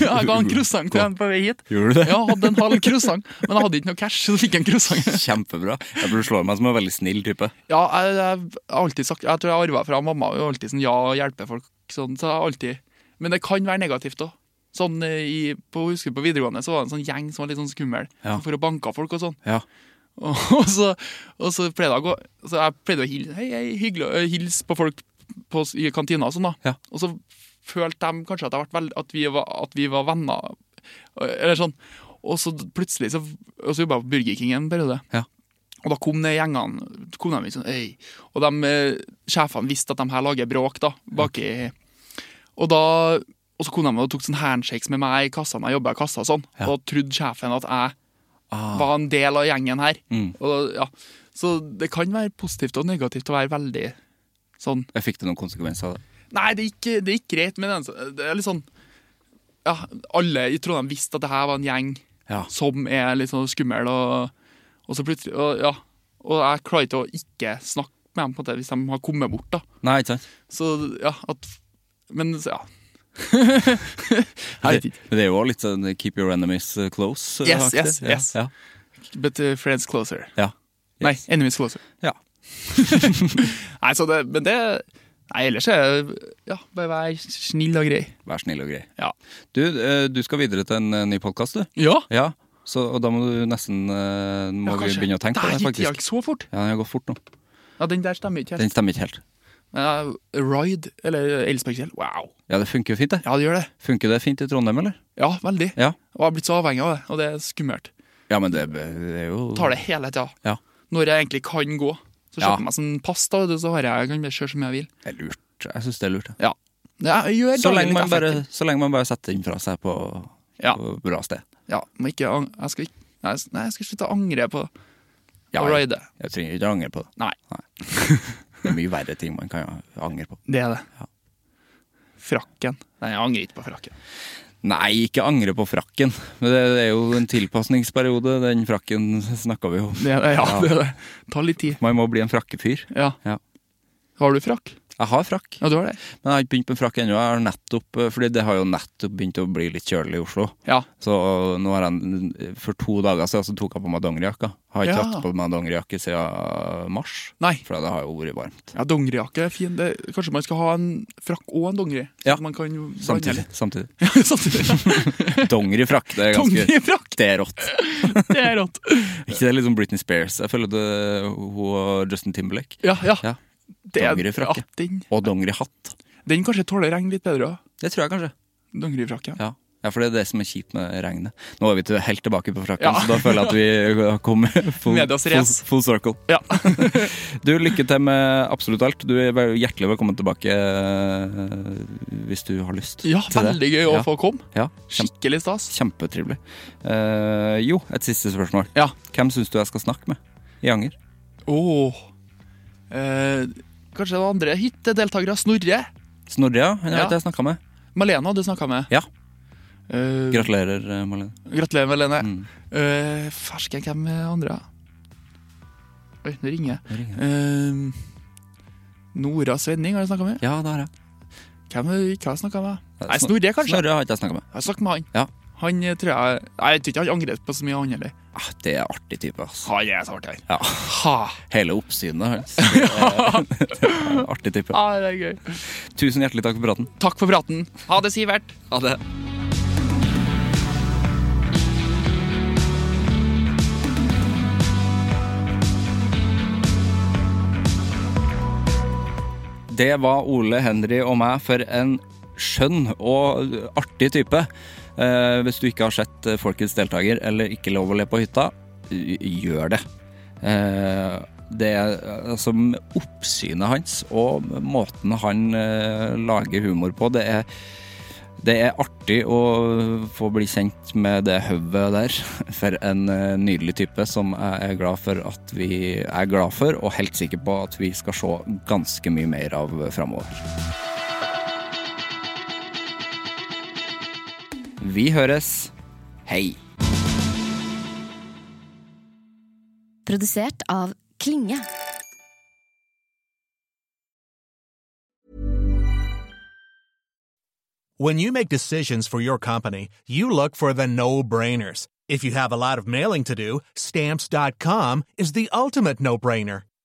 Ja, jeg ga en croissant til dem på vei hit. Gjorde du det? Ja, hadde en halv croissant, men jeg hadde ikke noe cash, så fikk jeg en croissant. Kjempebra. Jeg tror du slår meg som en veldig snill type. Ja, jeg, jeg, har alltid sagt, jeg tror jeg arva fra mamma. Hun er alltid sånn ja, hjelpe folk. Sånn, så jeg har alltid, men det kan være negativt òg. Sånn, eh, i- på, husker på videregående så var det en sånn gjeng som var litt sånn skummel Ja. for å banke folk og sånn. Ja. Og, og, så, og så pleide jeg å gå Så jeg pleide å hilse, hei, hei, hyggelig, å- eh, hilse på folk på, s- i kantina og sånn. Ja. da Og så følte de kanskje at, jeg ble veld, at, vi var, at vi var venner, eller sånn. Og så plutselig så, og så jobba jeg på Burger King en periode. Ja. Og da kom de gjengene kom de inn sånn, «Øy». Og de, eh, sjefene visste at de her lager bråk da, bak i og, da, og så kom de og tok sånn handshakes med meg i kassa når jeg jobba i kassa. og sånn Og da trodde sjefen at jeg Ah. var en del av gjengen her. Mm. Og da, ja. Så det kan være positivt og negativt å være veldig sånn Jeg fikk det noen konsekvenser av det. Nei, det gikk, det gikk greit, men det er- det er litt sånn Ja, alle i Trondheim visste at det her var en gjeng Ja. som er litt sånn skummel, og, og så plutselig og, Ja. Og jeg klarer ikke å ikke snakke med dem på det hvis de har kommet bort, da. Nei, ikke sant? Så ja, at Men så, ja. Men jeg vet det, ikke. men det er jo også litt sånn keep your enemies eh, close. eh, Yes, aktig. yes, ja, yes. Ja, But uh, friends closer. ja. Yes. Nei, enemies closer. Ja. Nei, så det, men det Nei, ellers er det Ja, bare vær snill og grei. Vær snill og grei. Ja. Du, eh, du skal videre til en eh, ny podkast, du. Ja, Ja, så, og da må du nesten eh, må vi kanskje. begynne å tenke på det, Der gikk tida faktisk. ikke så fort. Ja, Den har gått fort nå. Ja, Den der stemmer ikke Den helt. stemmer ikke helt. Men, ja, Ride, eller Elspekkfjell, wow. Ja, det funker jo fint, det. Ja, det gjør det. Funker det fint i Trondheim, eller? Ja, veldig. Ja. Og jeg har blitt så avhengig av det, og det er skummelt. Ja, men det, det er jo Tar det hele tida. Ja. Når jeg egentlig kan gå. Så Ja. kjøper jeg meg sånn pass, da, og så har jeg, jeg kan bare kjøre så mye jeg vil. Det er lurt. Jeg syns det er lurt. Ja. Ja. Ja, jeg gjør Så, dagen lenge litt man bare, effektiv. så lenge man bare setter den fra seg på, Ja. på bra sted. Ja, men ikke ang- Jeg skal ikke Nei, jeg- nei, jeg skal slutte å angre på Ja, å jeg, ride. jeg trenger ikke å angre på det. Nei, Det er mye verre ting man kan angre på. det er det. Frakken. Nei, jeg angrer ikke på frakken. Nei, ikke angre på frakken. Men det, det er jo en tilpasningsperiode. Den frakken snakka vi jo om. Det er det, ja, det er det. Ta litt tid. Man må bli en frakkefyr. Ja. Ja. Har du frakk? Jeg har frakk. Ja, du har det. Men jeg har ikke begynt med frakk ennå. Jeg har nettopp, eh, Fordi det har jo nettopp begynt å bli litt kjølig i Oslo. Ja. Så eh, nå har jeg, For to dager siden så tok jeg på meg dongerijakka. Har ikke Ja. hatt på meg dongerijakke siden mars. Nei. For det har jo vært varmt. Ja, Dongerijakke er fin. Det, kanskje man skal ha en frakk og en dongeri? så Ja, at Man kan jo blande Samtidig. litt. samtidig. Ja, Samtidig. Dongerifrakk, det er ganske Dongerifrakk, Det er rått. det er rått. Ikke det er litt som Britney Spears? Jeg føler det hun og Justin Timberlake. Ja, ja. Ja. Det er- Dongerifrakke. ja, den, Og dongerihatt. den kanskje tåler regn litt bedre òg. Det tror jeg kanskje. Dongerifrakke. Ja. ja, for det er det som er kjipt med regnet. Nå er vi til, helt tilbake på frakken, Ja. så da føler jeg at vi har kommet full, Medias full, race. full circle. Ja. Du, lykke til med absolutt alt. Du er vel- hjertelig velkommen tilbake eh, hvis du har lyst. Ja, til det. veldig gøy å Ja. få komme. Ja, kjempe, Skikkelig stas. kjempetrivelig. Eh, jo, et siste spørsmål. Ja. Hvem syns du jeg skal snakke med i Anger? Åh. Eh, kanskje det var andre hyttedeltakere. Snorre. Snorre, ja. Han har Ja. ikke jeg snakka med. Malena, du snakka med. Ja. Eh, Gratulerer, eh, Malene. Gratulerer, Malene. Eh, fersken, hvem er andre? Oi, nå ringer jeg. Eh, Nora Svenning har jeg snakka med. Ja, det har jeg. Hvem er det vi ikke har snakka med? Nei, Snorre, kanskje. Snorre har ikke jeg snakka med. Jeg har snakket med han. Ja. Han eh, tror jeg Nei, Jeg tror ikke han angret på så mye, han heller. Ah, det er artig type, ass. Han er så artig. her. Ja. Ha. Hele oppsynet hans. Det er- det er en Artig type. Ja, det er gøy. Tusen hjertelig takk for praten. Takk for praten. Ha det, Sivert. Ha det. Det var Ole Henry og meg for en skjønn og artig type. Eh, hvis du ikke har sett eh, Folkets deltaker eller Ikke lov å le på hytta, y- gjør det. Eh, det er altså med oppsynet hans og måten han eh, lager humor på, det er det er artig å få bli kjent med det høvet der. For en eh, nydelig type som jeg er glad for at vi er glad for, og helt sikker på at vi skal se ganske mye mer av framover. Vi høres. Hei. Produsert av Klinge. When you make decisions for your company, you look for the no brainers. If you have a lot of mailing to do, stamps.com is the ultimate no brainer.